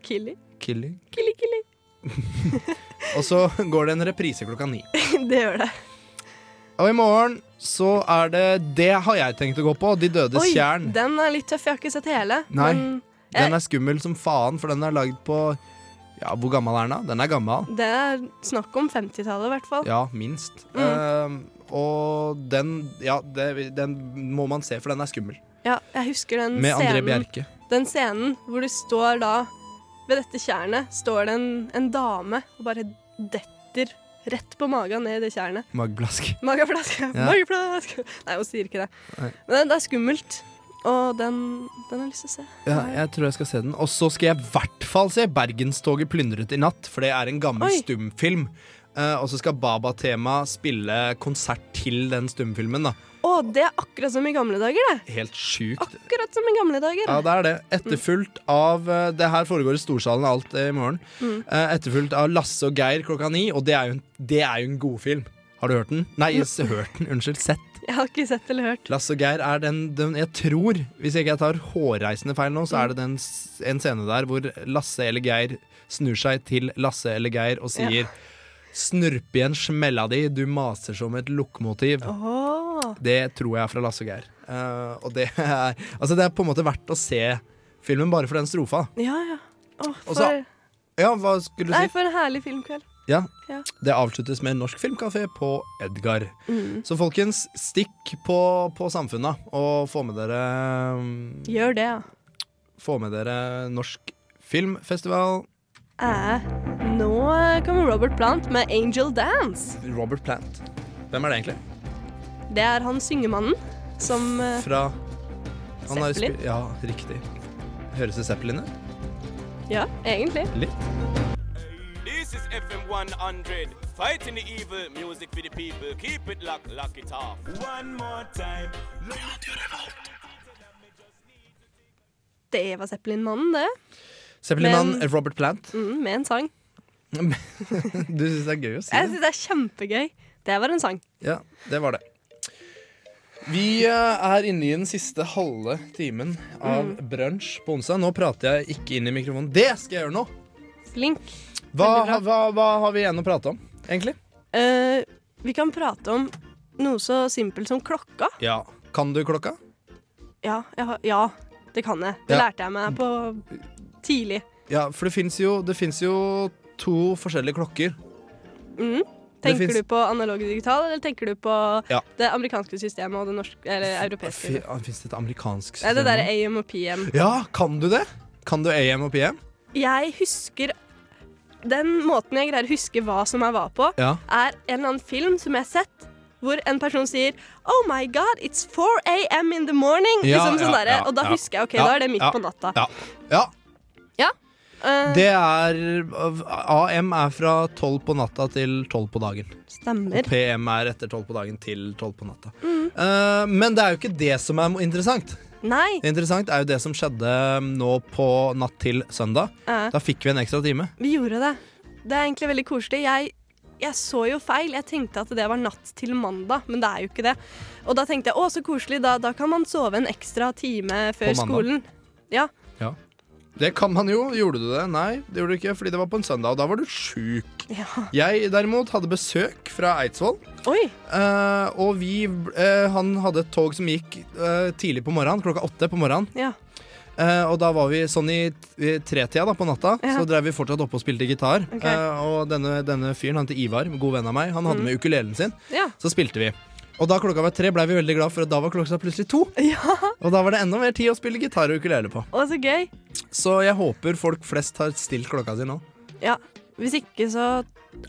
Speaker 4: Killy.
Speaker 2: Killi.
Speaker 4: Killy, killy.
Speaker 2: Og så går det en reprise klokka ni.
Speaker 4: det gjør det.
Speaker 2: Og i morgen så er det Det har jeg tenkt å gå på. De dødes
Speaker 4: Oi,
Speaker 2: tjern.
Speaker 4: den er litt tøff. Jeg har ikke sett hele.
Speaker 2: Nei.
Speaker 4: men
Speaker 2: Den er skummel som faen, for den er lagd på Ja, hvor gammel er den, da? Den er gammel.
Speaker 4: Det er snakk om 50-tallet, i hvert fall.
Speaker 2: Ja, minst.
Speaker 4: Mm.
Speaker 2: Eh, og den Ja, det, den må man se, for den er skummel.
Speaker 4: Ja, jeg husker Mm, den
Speaker 2: Med André
Speaker 4: scenen.
Speaker 2: Bjerke.
Speaker 4: Den scenen hvor det står da Ved dette tjernet står det en, en dame og bare detter rett på magen ned i det tjernet.
Speaker 2: Mageplask.
Speaker 4: Mageplask.
Speaker 2: Ja.
Speaker 4: Mageplask. Nei, hun sier ikke det.
Speaker 2: Nei.
Speaker 4: Men det, det er skummelt. Og den, den har jeg lyst til å se.
Speaker 2: Ja, jeg tror jeg skal se den. Og så skal jeg i hvert fall se Bergenstoget plyndret i natt, for det er en gammel
Speaker 4: Oi.
Speaker 2: stumfilm. Eh, og så skal Baba-tema spille konsert til den stumfilmen, da.
Speaker 4: Å, det er akkurat som i gamle dager, det.
Speaker 2: Helt sjukt.
Speaker 4: Akkurat som i gamle dager.
Speaker 2: Ja, det er det. Etterfulgt av eh, Det her foregår i Storsalen og alt eh, i morgen.
Speaker 4: Mm.
Speaker 2: Eh, Etterfulgt av Lasse og Geir klokka ni, og det er jo en, det er jo en god film. Har du hørt den? Nei, s- hørt den. Unnskyld. Sett.
Speaker 4: Jeg har ikke sett eller hørt.
Speaker 2: Lasse og Geir er den, den Jeg tror, hvis ikke jeg tar hårreisende feil nå, så er det den, s- en scene der hvor Lasse eller Geir snur seg til Lasse eller Geir og sier
Speaker 4: Ja.
Speaker 2: Snurp igjen smella di, du maser som et lokomotiv.
Speaker 4: Åh.
Speaker 2: Det tror jeg er fra Lasse og Geir. Eh, og det er, altså det er på en måte verdt å se filmen bare for den strofa.
Speaker 4: Ja, ja. Åh,
Speaker 2: Og
Speaker 4: for,
Speaker 2: så- Ja, hva skulle du
Speaker 4: nei,
Speaker 2: si?
Speaker 4: for en herlig filmkveld.
Speaker 2: Ja.
Speaker 4: Ja.
Speaker 2: Det avsluttes med en norsk filmkafé på Edgar.
Speaker 4: Mm.
Speaker 2: Så folkens, stikk på, på Samfunnet og få med dere mm,
Speaker 4: Gjør det, ja.
Speaker 2: Få med dere Norsk Filmfestival.
Speaker 4: Eh, nå eh, kommer Robert Plant med 'Angel Dance'.
Speaker 2: Robert Plant. Hvem er det egentlig?
Speaker 4: Det er han syngemannen som eh,
Speaker 2: Fra han har
Speaker 4: Zeppelin?
Speaker 2: spi- Ja, riktig. Høres det Zeppelin ut?
Speaker 4: Ja, egentlig.
Speaker 2: Litt.
Speaker 16: This is FM 100, fighting the evil, music for the people. Keep it locked, lock it off. One more time.
Speaker 4: Det var Zeppelin-mannen, det.
Speaker 2: Zeppelin-mann
Speaker 4: Men-
Speaker 2: Robert Plant.
Speaker 4: Mm, med en sang.
Speaker 2: Du syns det er gøy å si
Speaker 4: Jeg
Speaker 2: det?
Speaker 4: syns det er kjempegøy. Det var en sang.
Speaker 2: Ja, det var det. Vi eh, er inne i den siste halve timen av
Speaker 4: Mm.
Speaker 2: brunsj på onsdag. Nå prater jeg ikke inn i mikrofonen. Det skal jeg gjøre nå!
Speaker 4: Flink.
Speaker 2: Hva, ha- hva, hva har vi igjen å prate om, egentlig?
Speaker 4: Eh, vi kan prate om noe så simpelt som klokka.
Speaker 2: Ja. Kan du klokka?
Speaker 4: Ja, jeg har, ja det kan jeg. Det
Speaker 2: Ja.
Speaker 4: lærte jeg meg på tidlig.
Speaker 2: Ja, for det fins jo, det finnes jo to forskjellige klokker.
Speaker 4: Mm.
Speaker 2: Det
Speaker 4: Tenker
Speaker 2: finnes-
Speaker 4: du på analog og digital, eller tenker du på
Speaker 2: Ja.
Speaker 4: det amerikanske systemet og det norske, eller europeiske?
Speaker 2: Fy- ah, Fins det et amerikansk
Speaker 4: Nei,
Speaker 2: nå?
Speaker 4: det der er AM og PM.
Speaker 2: Ja, kan du det? Kan du AM og PM?
Speaker 4: Jeg husker Den måten jeg greier å huske hva som jeg var på,
Speaker 2: Ja.
Speaker 4: er en eller annen film som jeg har sett, hvor en person sier Oh my God, it's 4 AM in the morning!
Speaker 2: Ja,
Speaker 4: liksom sånn
Speaker 2: ja,
Speaker 4: derre.
Speaker 2: ja,
Speaker 4: og da
Speaker 2: ja.
Speaker 4: husker jeg OK,
Speaker 2: Ja,
Speaker 4: da er det midt
Speaker 2: ja,
Speaker 4: på natta.
Speaker 2: Ja. ja.
Speaker 4: Ja. Eh,
Speaker 2: Det er AM er fra tolv på natta til tolv på dagen.
Speaker 4: Stemmer.
Speaker 2: Og PM er etter tolv på dagen til tolv på natta.
Speaker 4: Mm.
Speaker 2: Eh, men det er jo ikke det som er interessant.
Speaker 4: Nei.
Speaker 2: Det interessant er jo det som skjedde mm, nå på natt til søndag.
Speaker 4: Ja.
Speaker 2: Da fikk vi en ekstra time.
Speaker 4: Vi gjorde det. Det er egentlig veldig koselig. Jeg, jeg så jo feil. Jeg tenkte at det var natt til mandag, men det er jo ikke det. Og da tenkte jeg å, så koselig, da, da kan man sove en ekstra time før
Speaker 2: På mandag.
Speaker 4: skolen. Ja.
Speaker 2: Ja. Det kan man jo. Gjorde du det? Nei, det gjorde du ikke, fordi det var på en søndag, og da var du sjuk.
Speaker 4: ja.
Speaker 2: Jeg derimot hadde besøk fra Eidsvoll. Eh, og vi eh, Han hadde et tog som gikk eh, tidlig på morgenen, klokka åtte på morgenen.
Speaker 4: Ja.
Speaker 2: Eh, og da var vi sånn i, i tretida da, på natta,
Speaker 4: Ja.
Speaker 2: så drev vi fortsatt oppe og spilte gitar.
Speaker 4: Ok.
Speaker 2: Eh, og denne, denne fyren, han til Ivar, en god venn av meg, han hadde
Speaker 4: Mm.
Speaker 2: med ukulelen sin.
Speaker 4: Ja.
Speaker 2: Så spilte vi. Og da klokka var tre, blei vi veldig glad for at da var klokka plutselig to. Og da var det enda mer tid å spille gitar og ukulele på.
Speaker 4: Å, så gøy.
Speaker 2: Så jeg håper folk flest har stilt klokka si nå.
Speaker 4: Ja. Hvis ikke så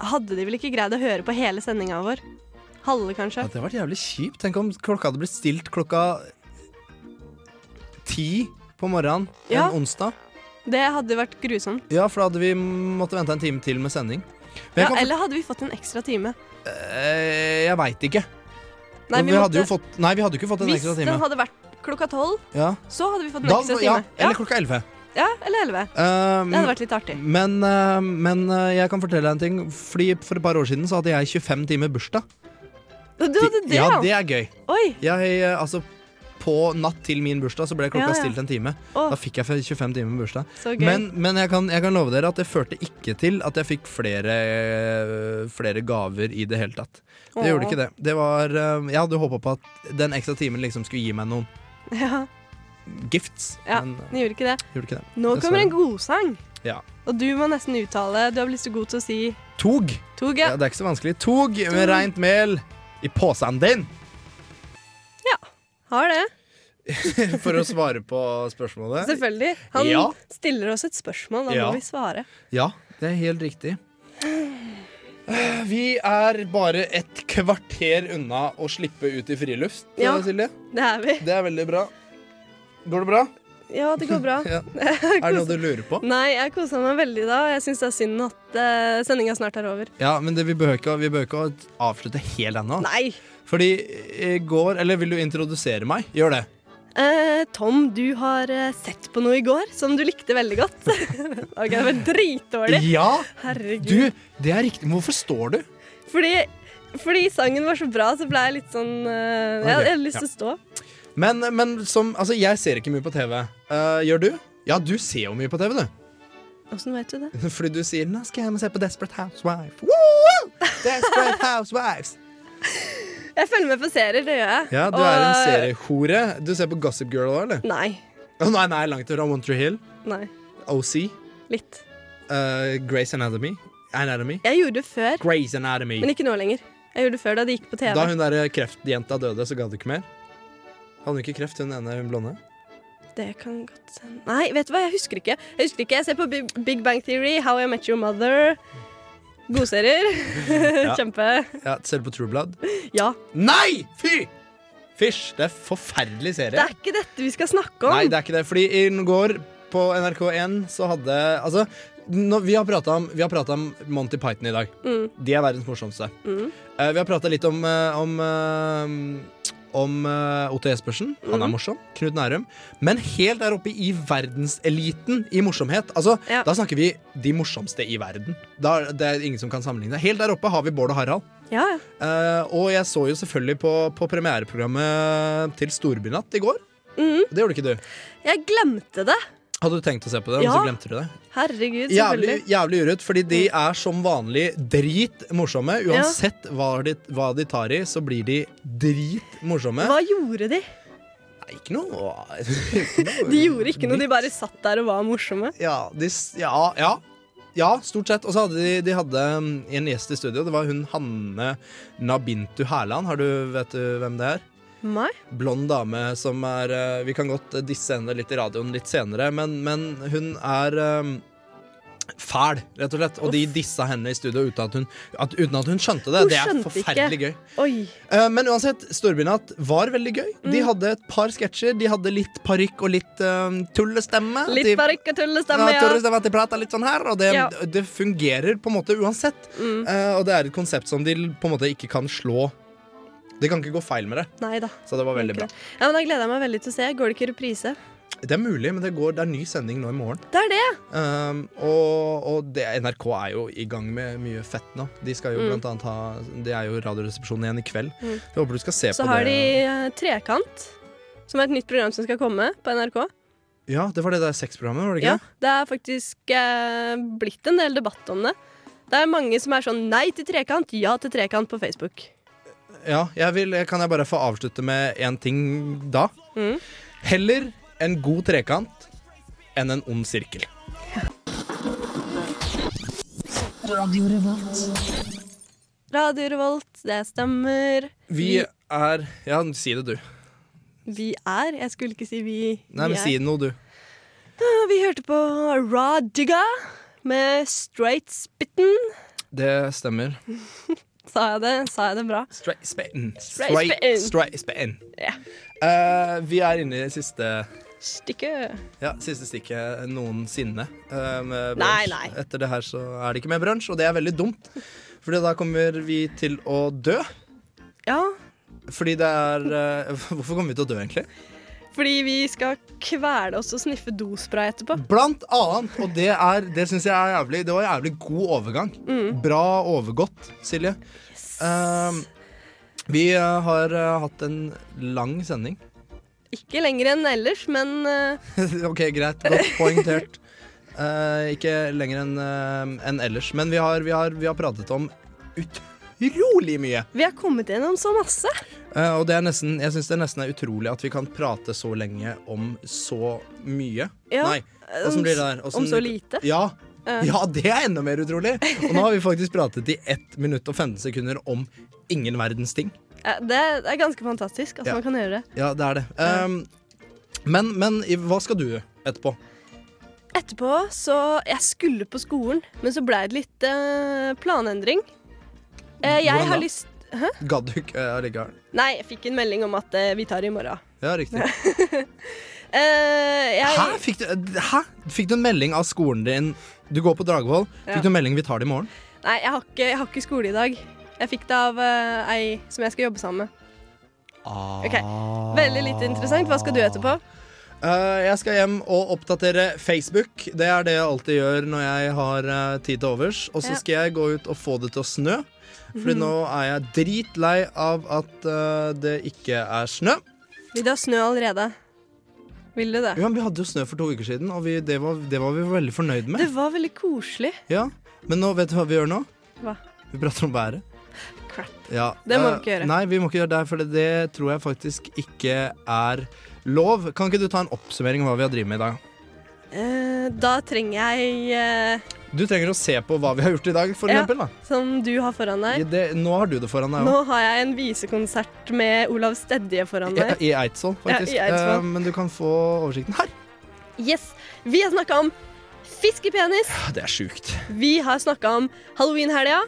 Speaker 4: hadde de vel ikke greid å høre på hele sendinga vår. Halve, kanskje.
Speaker 2: Ja, det hadde vært jævlig kjipt. Tenk om klokka hadde blitt stilt klokka ti på morgenen
Speaker 4: Ja.
Speaker 2: en onsdag.
Speaker 4: Det hadde vært grusomt.
Speaker 2: Ja, for da hadde vi måttet vente en time til med sending. Men
Speaker 4: Ja,
Speaker 2: jeg, kan-
Speaker 4: eller hadde vi fått en ekstra time.
Speaker 2: eh, jeg veit ikke.
Speaker 4: Nei,
Speaker 2: vi,
Speaker 4: vi
Speaker 2: hadde jo
Speaker 4: måtte-
Speaker 2: fått, nei, vi hadde jo ikke fått en
Speaker 4: Hvis
Speaker 2: ekstra time.
Speaker 4: den hadde vært klokka tolv,
Speaker 2: Ja.
Speaker 4: så hadde vi fått en
Speaker 2: Da-
Speaker 4: ekstra
Speaker 2: ja,
Speaker 4: time.
Speaker 2: eller klokka elleve.
Speaker 4: Ja, eller elleve.
Speaker 2: Um,
Speaker 4: Det hadde vært litt artig.
Speaker 2: Men, eh, men eh, jeg kan fortelle deg en ting. Fordi For et par år siden så hadde jeg 25 timer bursdag.
Speaker 4: Du hadde det,
Speaker 2: ja, det er gøy.
Speaker 4: Oi.
Speaker 2: Jeg, eh, altså, på natt til min bursdag så ble klokka
Speaker 4: Ja, ja.
Speaker 2: stilt en time.
Speaker 4: Åh.
Speaker 2: Da fikk jeg 25 timer med bursdag.
Speaker 4: Så gøy.
Speaker 2: Men, men jeg, kan, jeg kan love dere at det førte ikke til at jeg fikk flere, eh, flere gaver i det hele tatt. Det
Speaker 4: Åh.
Speaker 2: gjorde ikke det. det var, eh, jeg hadde håpa på at den ekstra timen liksom skulle gi meg noen
Speaker 4: Ja,
Speaker 2: gifts.
Speaker 4: ja
Speaker 2: Men
Speaker 4: den gjorde ikke det.
Speaker 2: eh, gjorde ikke det.
Speaker 4: Nå
Speaker 2: Dessverre.
Speaker 4: kommer en godsang,
Speaker 2: ja.
Speaker 4: og du må nesten uttale. Du har blitt så god til å si
Speaker 2: Tog.
Speaker 4: tog,
Speaker 2: Ja,
Speaker 4: ja.
Speaker 2: det er ikke så vanskelig. Tog med reint mel i posen din!
Speaker 4: Har det.
Speaker 2: For å svare på spørsmålet.
Speaker 4: Selvfølgelig. Han
Speaker 2: Ja.
Speaker 4: stiller oss et spørsmål, da
Speaker 2: Ja.
Speaker 4: må vi svare.
Speaker 2: Ja, det er helt riktig. Vi er bare et kvarter unna å slippe ut i friluft, eh,
Speaker 4: Ja.
Speaker 2: Silje.
Speaker 4: Det er vi.
Speaker 2: Det er veldig bra. Går det bra?
Speaker 4: Ja, det går bra.
Speaker 2: Ja. Er det noe du lurer på?
Speaker 4: Nei, jeg kosa meg veldig da. Jeg syns det er synd at uh, sendinga snart er over.
Speaker 2: Ja, men det, vi behøver ikke, vi behøver ikke å avslutte helt ennå.
Speaker 4: Nei.
Speaker 2: Fordi i går Eller vil du introdusere meg? Gjør det.
Speaker 4: Eh, Tom, du har eh, sett på noe i går som du likte veldig godt. ok, det var dritdårlig.
Speaker 2: Ja.
Speaker 4: Herregud.
Speaker 2: Du, det er riktig. Hvorfor står du?
Speaker 4: Fordi, fordi sangen var så bra, så ble jeg litt sånn eh, Jeg
Speaker 2: Ok,
Speaker 4: jeg hadde lyst til å stå.
Speaker 2: Men, men som Altså, jeg ser ikke mye på TV. Eh, gjør du? Ja, du ser jo mye på TV, du.
Speaker 4: Åssen vet du det?
Speaker 2: Fordi du sier 'Nå skal jeg se på Desperate Housewife'. Woo! Desperate Housewives.
Speaker 4: Jeg følger med på serier, det gjør jeg.
Speaker 2: Ja, du
Speaker 4: Og-
Speaker 2: er en seriehore. Du ser på Gossip Girl òg, eller?
Speaker 4: Nei.
Speaker 2: Å, nei, nei, langt fra One Tree Hill.
Speaker 4: Nei.
Speaker 2: OC.
Speaker 4: Litt.
Speaker 2: eh, Grey's Anatomy. Anatomy.
Speaker 4: Jeg gjorde det før,
Speaker 2: Grey's Anatomy.
Speaker 4: men ikke nå lenger. Jeg gjorde det før da det gikk på TV.
Speaker 2: eh, Da hun der kreftjenta døde, så gadd du ikke mer? Hadde hun ikke kreft, hun ene hun blonde?
Speaker 4: Det kan godt hende Nei, vet du hva, jeg husker ikke. Jeg husker ikke, jeg ser på Big Big Bang Theory, How I Met Your Mother. Gode serier.
Speaker 2: Ja.
Speaker 4: Kjempe.
Speaker 2: Ja, ser du på True Blood?
Speaker 4: Ja.
Speaker 2: Nei! Fy! Fysj, det er forferdelig serie.
Speaker 4: Det er ikke dette vi skal snakke om.
Speaker 2: Nei, det er ikke det. Fordi i går på NRK1 så hadde Altså, nå- vi har prata om, vi har pratet om Monty Python i dag.
Speaker 6: Mm.
Speaker 2: De er verdens morsomste.
Speaker 6: Mm.
Speaker 2: Eh, vi har prata litt om, eh, om eh, om eh, Otto Jespersen. Han er
Speaker 6: Mm.
Speaker 2: morsom. Knut Nærum. Men helt der oppe i verdenseliten i morsomhet. Altså, Da snakker vi de morsomste i verden. Da, er- det er ingen som kan sammenligne. Helt der oppe har vi Bård og Harald.
Speaker 4: Ja, ja.
Speaker 2: Eh, og jeg så jo selvfølgelig på, på premiereprogrammet til Storbynatt i går.
Speaker 6: Mm.
Speaker 2: Det gjorde ikke du.
Speaker 4: Jeg glemte det.
Speaker 2: Hadde du tenkt å se på det, men
Speaker 4: Ja.
Speaker 2: så glemte du det?
Speaker 4: Herregud,
Speaker 2: Jævlig,
Speaker 4: selvfølgelig. Mm.
Speaker 2: jævlig urett, fordi de er som vanlig drit morsomme.
Speaker 4: Ja.
Speaker 2: Uansett hva, de, hva de tar i, så blir de drit morsomme.
Speaker 4: Hva gjorde de?
Speaker 2: Ikke noe
Speaker 4: De gjorde ikke noe, de bare satt der og var morsomme.
Speaker 2: Ja, de, s- ja, ja. ja stort sett. Og så hadde de, de hadde mm, en gjest i studio. Det var hun Hanne Nabintu Hærland. Har du, vet du hvem det er?
Speaker 4: Nei.
Speaker 2: blond dame som er eh, Vi kan godt eh, disse henne litt i radioen litt senere, men, men hun er eh, fæl, rett og slett. Og de dissa henne i studio uten at hun, at, uten at hun skjønte det.
Speaker 4: Hun
Speaker 2: det er
Speaker 4: skjønte
Speaker 2: forferdelig
Speaker 4: ikke.
Speaker 2: gøy.
Speaker 4: Oi.
Speaker 2: Eh, Men uansett, Storbynatt var veldig gøy.
Speaker 4: Mm.
Speaker 2: De hadde et par sketsjer. De hadde litt parykk og litt eh, tullestemme.
Speaker 4: Litt
Speaker 2: De-
Speaker 4: parykk og tullestemme,
Speaker 2: ja,
Speaker 4: ja.
Speaker 2: tullestemme, at de prater litt sånn her, og det,
Speaker 4: Ja. Mm.
Speaker 2: det fungerer på en måte uansett. Eh, og det er et konsept som de på en måte ikke kan slå Det kan ikke gå feil med det.
Speaker 4: Nei da.
Speaker 2: Så det var veldig bra.
Speaker 4: Ja, men Da gleder jeg meg veldig til å se. Går det ikke i reprise?
Speaker 2: Det er mulig, men det, går, det er ny sending nå i morgen.
Speaker 4: Det er det!
Speaker 2: Um, og og det, NRK er jo i gang med mye fett nå. De skal jo
Speaker 4: Mm.
Speaker 2: blant annet ha Det er jo Radioresepsjonen igjen i kveld.
Speaker 4: Mm.
Speaker 2: Jeg håper du skal se
Speaker 4: Så
Speaker 2: på
Speaker 4: har
Speaker 2: det.
Speaker 4: de eh, Trekant, som er et nytt program som skal komme på NRK.
Speaker 2: Ja, det var det der sexprogrammet, var det ikke?
Speaker 4: Ja, det er faktisk eh, blitt en del debatt om det. Det er mange som er sånn nei til trekant, ja til trekant på Facebook.
Speaker 2: det? Ja, jeg vil, Kan jeg bare få avslutte med én ting da?
Speaker 4: Mm.
Speaker 2: Heller en god trekant enn en ond sirkel.
Speaker 9: Radio Revolt.
Speaker 4: Radio Revolt, det stemmer.
Speaker 2: Vi
Speaker 4: Mm.
Speaker 2: er Ja, si det, du.
Speaker 4: Vi er Jeg skulle ikke si vi.
Speaker 2: Nei,
Speaker 4: vi
Speaker 2: men
Speaker 4: er.
Speaker 2: si noe, du.
Speaker 4: Ja, Vi hørte på Radiga med Straight Spitten.
Speaker 2: Det stemmer.
Speaker 4: Sa jeg det? Sa jeg det bra?
Speaker 2: Straight Spitten.
Speaker 4: Straight spitten.
Speaker 2: Straight spitten.
Speaker 4: mm. Ja.
Speaker 2: mm. Eh, vi er inne i det siste
Speaker 4: Stikke.
Speaker 2: Ja, siste stikket noensinne. eh, med
Speaker 4: Nei,
Speaker 2: brunch.
Speaker 4: nei.
Speaker 2: Etter det her så er det ikke mer brunsj, og det er veldig dumt. Fordi da kommer vi til å dø.
Speaker 4: Ja.
Speaker 2: Fordi det er eh, Hvorfor kommer vi til å dø, egentlig?
Speaker 4: Fordi vi skal kvele oss og sniffe dospray etterpå.
Speaker 2: Blant annet, og det, er- det syns jeg er jævlig Det var jævlig god overgang.
Speaker 4: Mm.
Speaker 2: Bra overgått, Silje. Eh, vi eh, har eh, hatt en lang sending.
Speaker 4: Ikke lenger enn ellers, men eh,
Speaker 2: ok, greit. Godt poengtert. Eh, ikke lenger enn eh, enn ellers. Men vi har, vi, har, vi har pratet om utrolig mye.
Speaker 4: vi har kommet gjennom så masse.
Speaker 2: Eh, og det er nesten, jeg syns det nesten er utrolig at vi kan prate så lenge om så mye.
Speaker 4: Ja,
Speaker 2: Nei, åssen blir det der? Åssen-
Speaker 4: om så lite.
Speaker 2: Ja.
Speaker 4: Eh.
Speaker 2: ja, det er enda mer utrolig. Og nå har vi faktisk pratet i 1 minutt og 15 sekunder om ingen verdens ting.
Speaker 4: Ja, Det er ganske fantastisk at
Speaker 2: Ja.
Speaker 4: man kan gjøre det.
Speaker 2: Ja, det er det. Ehm, men, men i- hva skal du etterpå?
Speaker 4: Etterpå så Jeg skulle på skolen, men så blei det litt eh, planendring. Eh, jeg
Speaker 2: Mm. Hvordan
Speaker 4: har
Speaker 2: da?
Speaker 4: lyst Hæ?
Speaker 2: Gadd du ikke eh, allikevel?
Speaker 4: Nei, jeg fikk en melding om at eh, vi tar det i morgen.
Speaker 2: Ja, riktig.
Speaker 4: Eh, jeg,
Speaker 2: Hæ? Fikk du, hæ? Fikk du en melding av skolen din Du går på Dragvoll.
Speaker 4: Ja.
Speaker 2: Fikk du en melding vi tar det i morgen?
Speaker 4: Nei, jeg har, ikke, jeg har ikke skole i dag. Jeg fikk det av eh, ei som jeg skal jobbe sammen med. Ok, Veldig lite interessant. Hva skal du etterpå?
Speaker 2: Eh, jeg skal hjem og oppdatere Facebook. Det er det jeg alltid gjør når jeg har eh, tid til overs. Og så
Speaker 4: Ja.
Speaker 2: skal jeg gå ut og få det til å snø. Fordi
Speaker 4: Mhm.
Speaker 2: nå er jeg dritlei av at eh, det ikke er snø.
Speaker 4: Vil du ha snø allerede? Vil du det?
Speaker 2: Ja, men vi hadde jo snø for to uker siden, og vi, det, var, det var vi veldig fornøyd med.
Speaker 4: Det var veldig koselig.
Speaker 2: Ja. Men nå, vet du hva vi gjør nå?
Speaker 4: Hva?
Speaker 2: Vi prater om været. Ja,
Speaker 4: Det må
Speaker 2: eh,
Speaker 4: vi ikke gjøre.
Speaker 2: Nei, vi må ikke gjøre det, for det tror jeg faktisk ikke er lov. Kan ikke du ta en oppsummering av hva vi har drevet med i dag?
Speaker 4: Eh, da trenger jeg eh,
Speaker 2: Du trenger å se på hva vi har gjort i dag, for eksempel. Da.
Speaker 4: Som du har foran deg.
Speaker 2: Det, nå har du det foran deg
Speaker 4: Nå
Speaker 2: òg.
Speaker 4: har jeg en visekonsert med Olav Stedje foran meg.
Speaker 2: I Eidsvoll, faktisk.
Speaker 4: Ja, i Eidsvoll.
Speaker 2: Eh, men du kan få oversikten her.
Speaker 4: Yes, Vi har snakka om fiskepenis.
Speaker 2: Ah, Det er sjukt.
Speaker 4: Vi har snakka om halloweenhelga.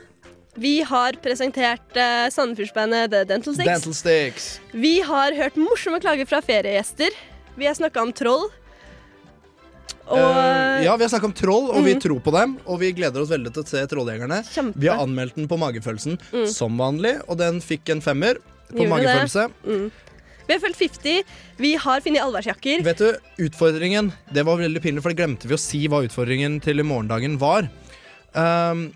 Speaker 4: Vi har presentert uh, Sandefjordsbandet The Dental Six.
Speaker 2: Dental sticks.
Speaker 4: Vi har hørt morsomme klager fra feriegjester. Vi har snakka om troll. Og
Speaker 2: Eh, ja, vi har snakka om troll, og vi
Speaker 4: Mm.
Speaker 2: tror på dem. Og vi gleder oss veldig til å se Trolljegerne.
Speaker 4: Kjempe.
Speaker 2: Vi har anmeldt den på magefølelsen
Speaker 4: Mm.
Speaker 2: som vanlig, og den fikk en femmer på
Speaker 4: Gjorde det.
Speaker 2: magefølelse.
Speaker 4: Mm. Vi har fulgt 50. Vi har funnet allværsjakker.
Speaker 2: Vet du, utfordringen Det var veldig pinlig, for det glemte vi å si hva utfordringen til i morgendagen var. Ehm,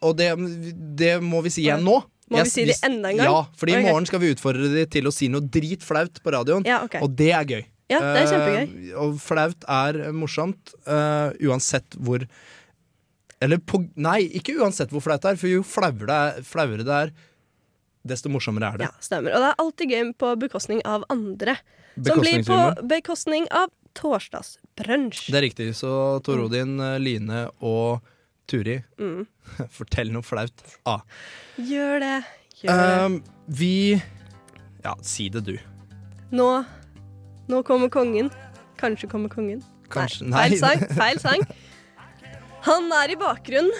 Speaker 2: og det, det må vi si igjen nå.
Speaker 4: Må vi si det enda en gang?
Speaker 2: Ja, fordi
Speaker 4: Ok.
Speaker 2: i morgen skal vi utfordre de til å si noe dritflaut på radioen,
Speaker 4: Ja, ok.
Speaker 2: og det er gøy.
Speaker 4: Ja, det er
Speaker 2: Eh, og flaut er morsomt eh, uansett hvor Eller på Nei, ikke uansett hvor flaut det er, for jo flauere det er, flauere det er desto morsommere er det.
Speaker 4: Stemmer. Og det er alltid gøy på bekostning av andre. Som blir
Speaker 2: Bekostningshumor.
Speaker 4: på bekostning av torsdagsbrunsj.
Speaker 2: Det er riktig. Så Tor Odin, eh, Line og Turi,
Speaker 4: Mm.
Speaker 2: fortell noe flaut. Ah.
Speaker 4: Gjør det. Gjør det.
Speaker 2: Um, vi Ja, si det, du.
Speaker 4: Nå, nå kommer kongen. Kanskje kommer kongen.
Speaker 2: Kanskje.
Speaker 4: Feil
Speaker 2: Nei.
Speaker 4: sang. Feil sang. Han er i bakgrunnen.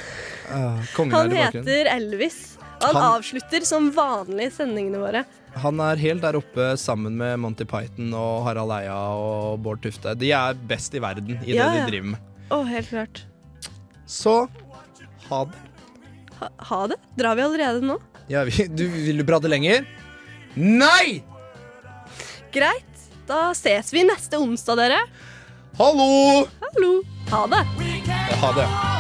Speaker 2: Ah, kongen
Speaker 4: Han
Speaker 2: er i bakgrunnen.
Speaker 4: heter Elvis. Og han,
Speaker 2: Han-
Speaker 4: avslutter som vanlig sendingene våre.
Speaker 2: Han er helt der oppe sammen med Monty Python og Harald Eia og Bård Tufte. De er best i verden i
Speaker 4: Ja,
Speaker 2: det
Speaker 4: ja.
Speaker 2: de driver med.
Speaker 4: Å, helt klart.
Speaker 2: Så ha det.
Speaker 4: Ha, ha det. Drar vi allerede nå?
Speaker 2: Ja, vi, du, vil du prate lenger? Nei!
Speaker 4: Greit. Da ses vi neste onsdag, dere.
Speaker 2: Hallo!
Speaker 4: Hallo. Ha det.
Speaker 2: Ha det.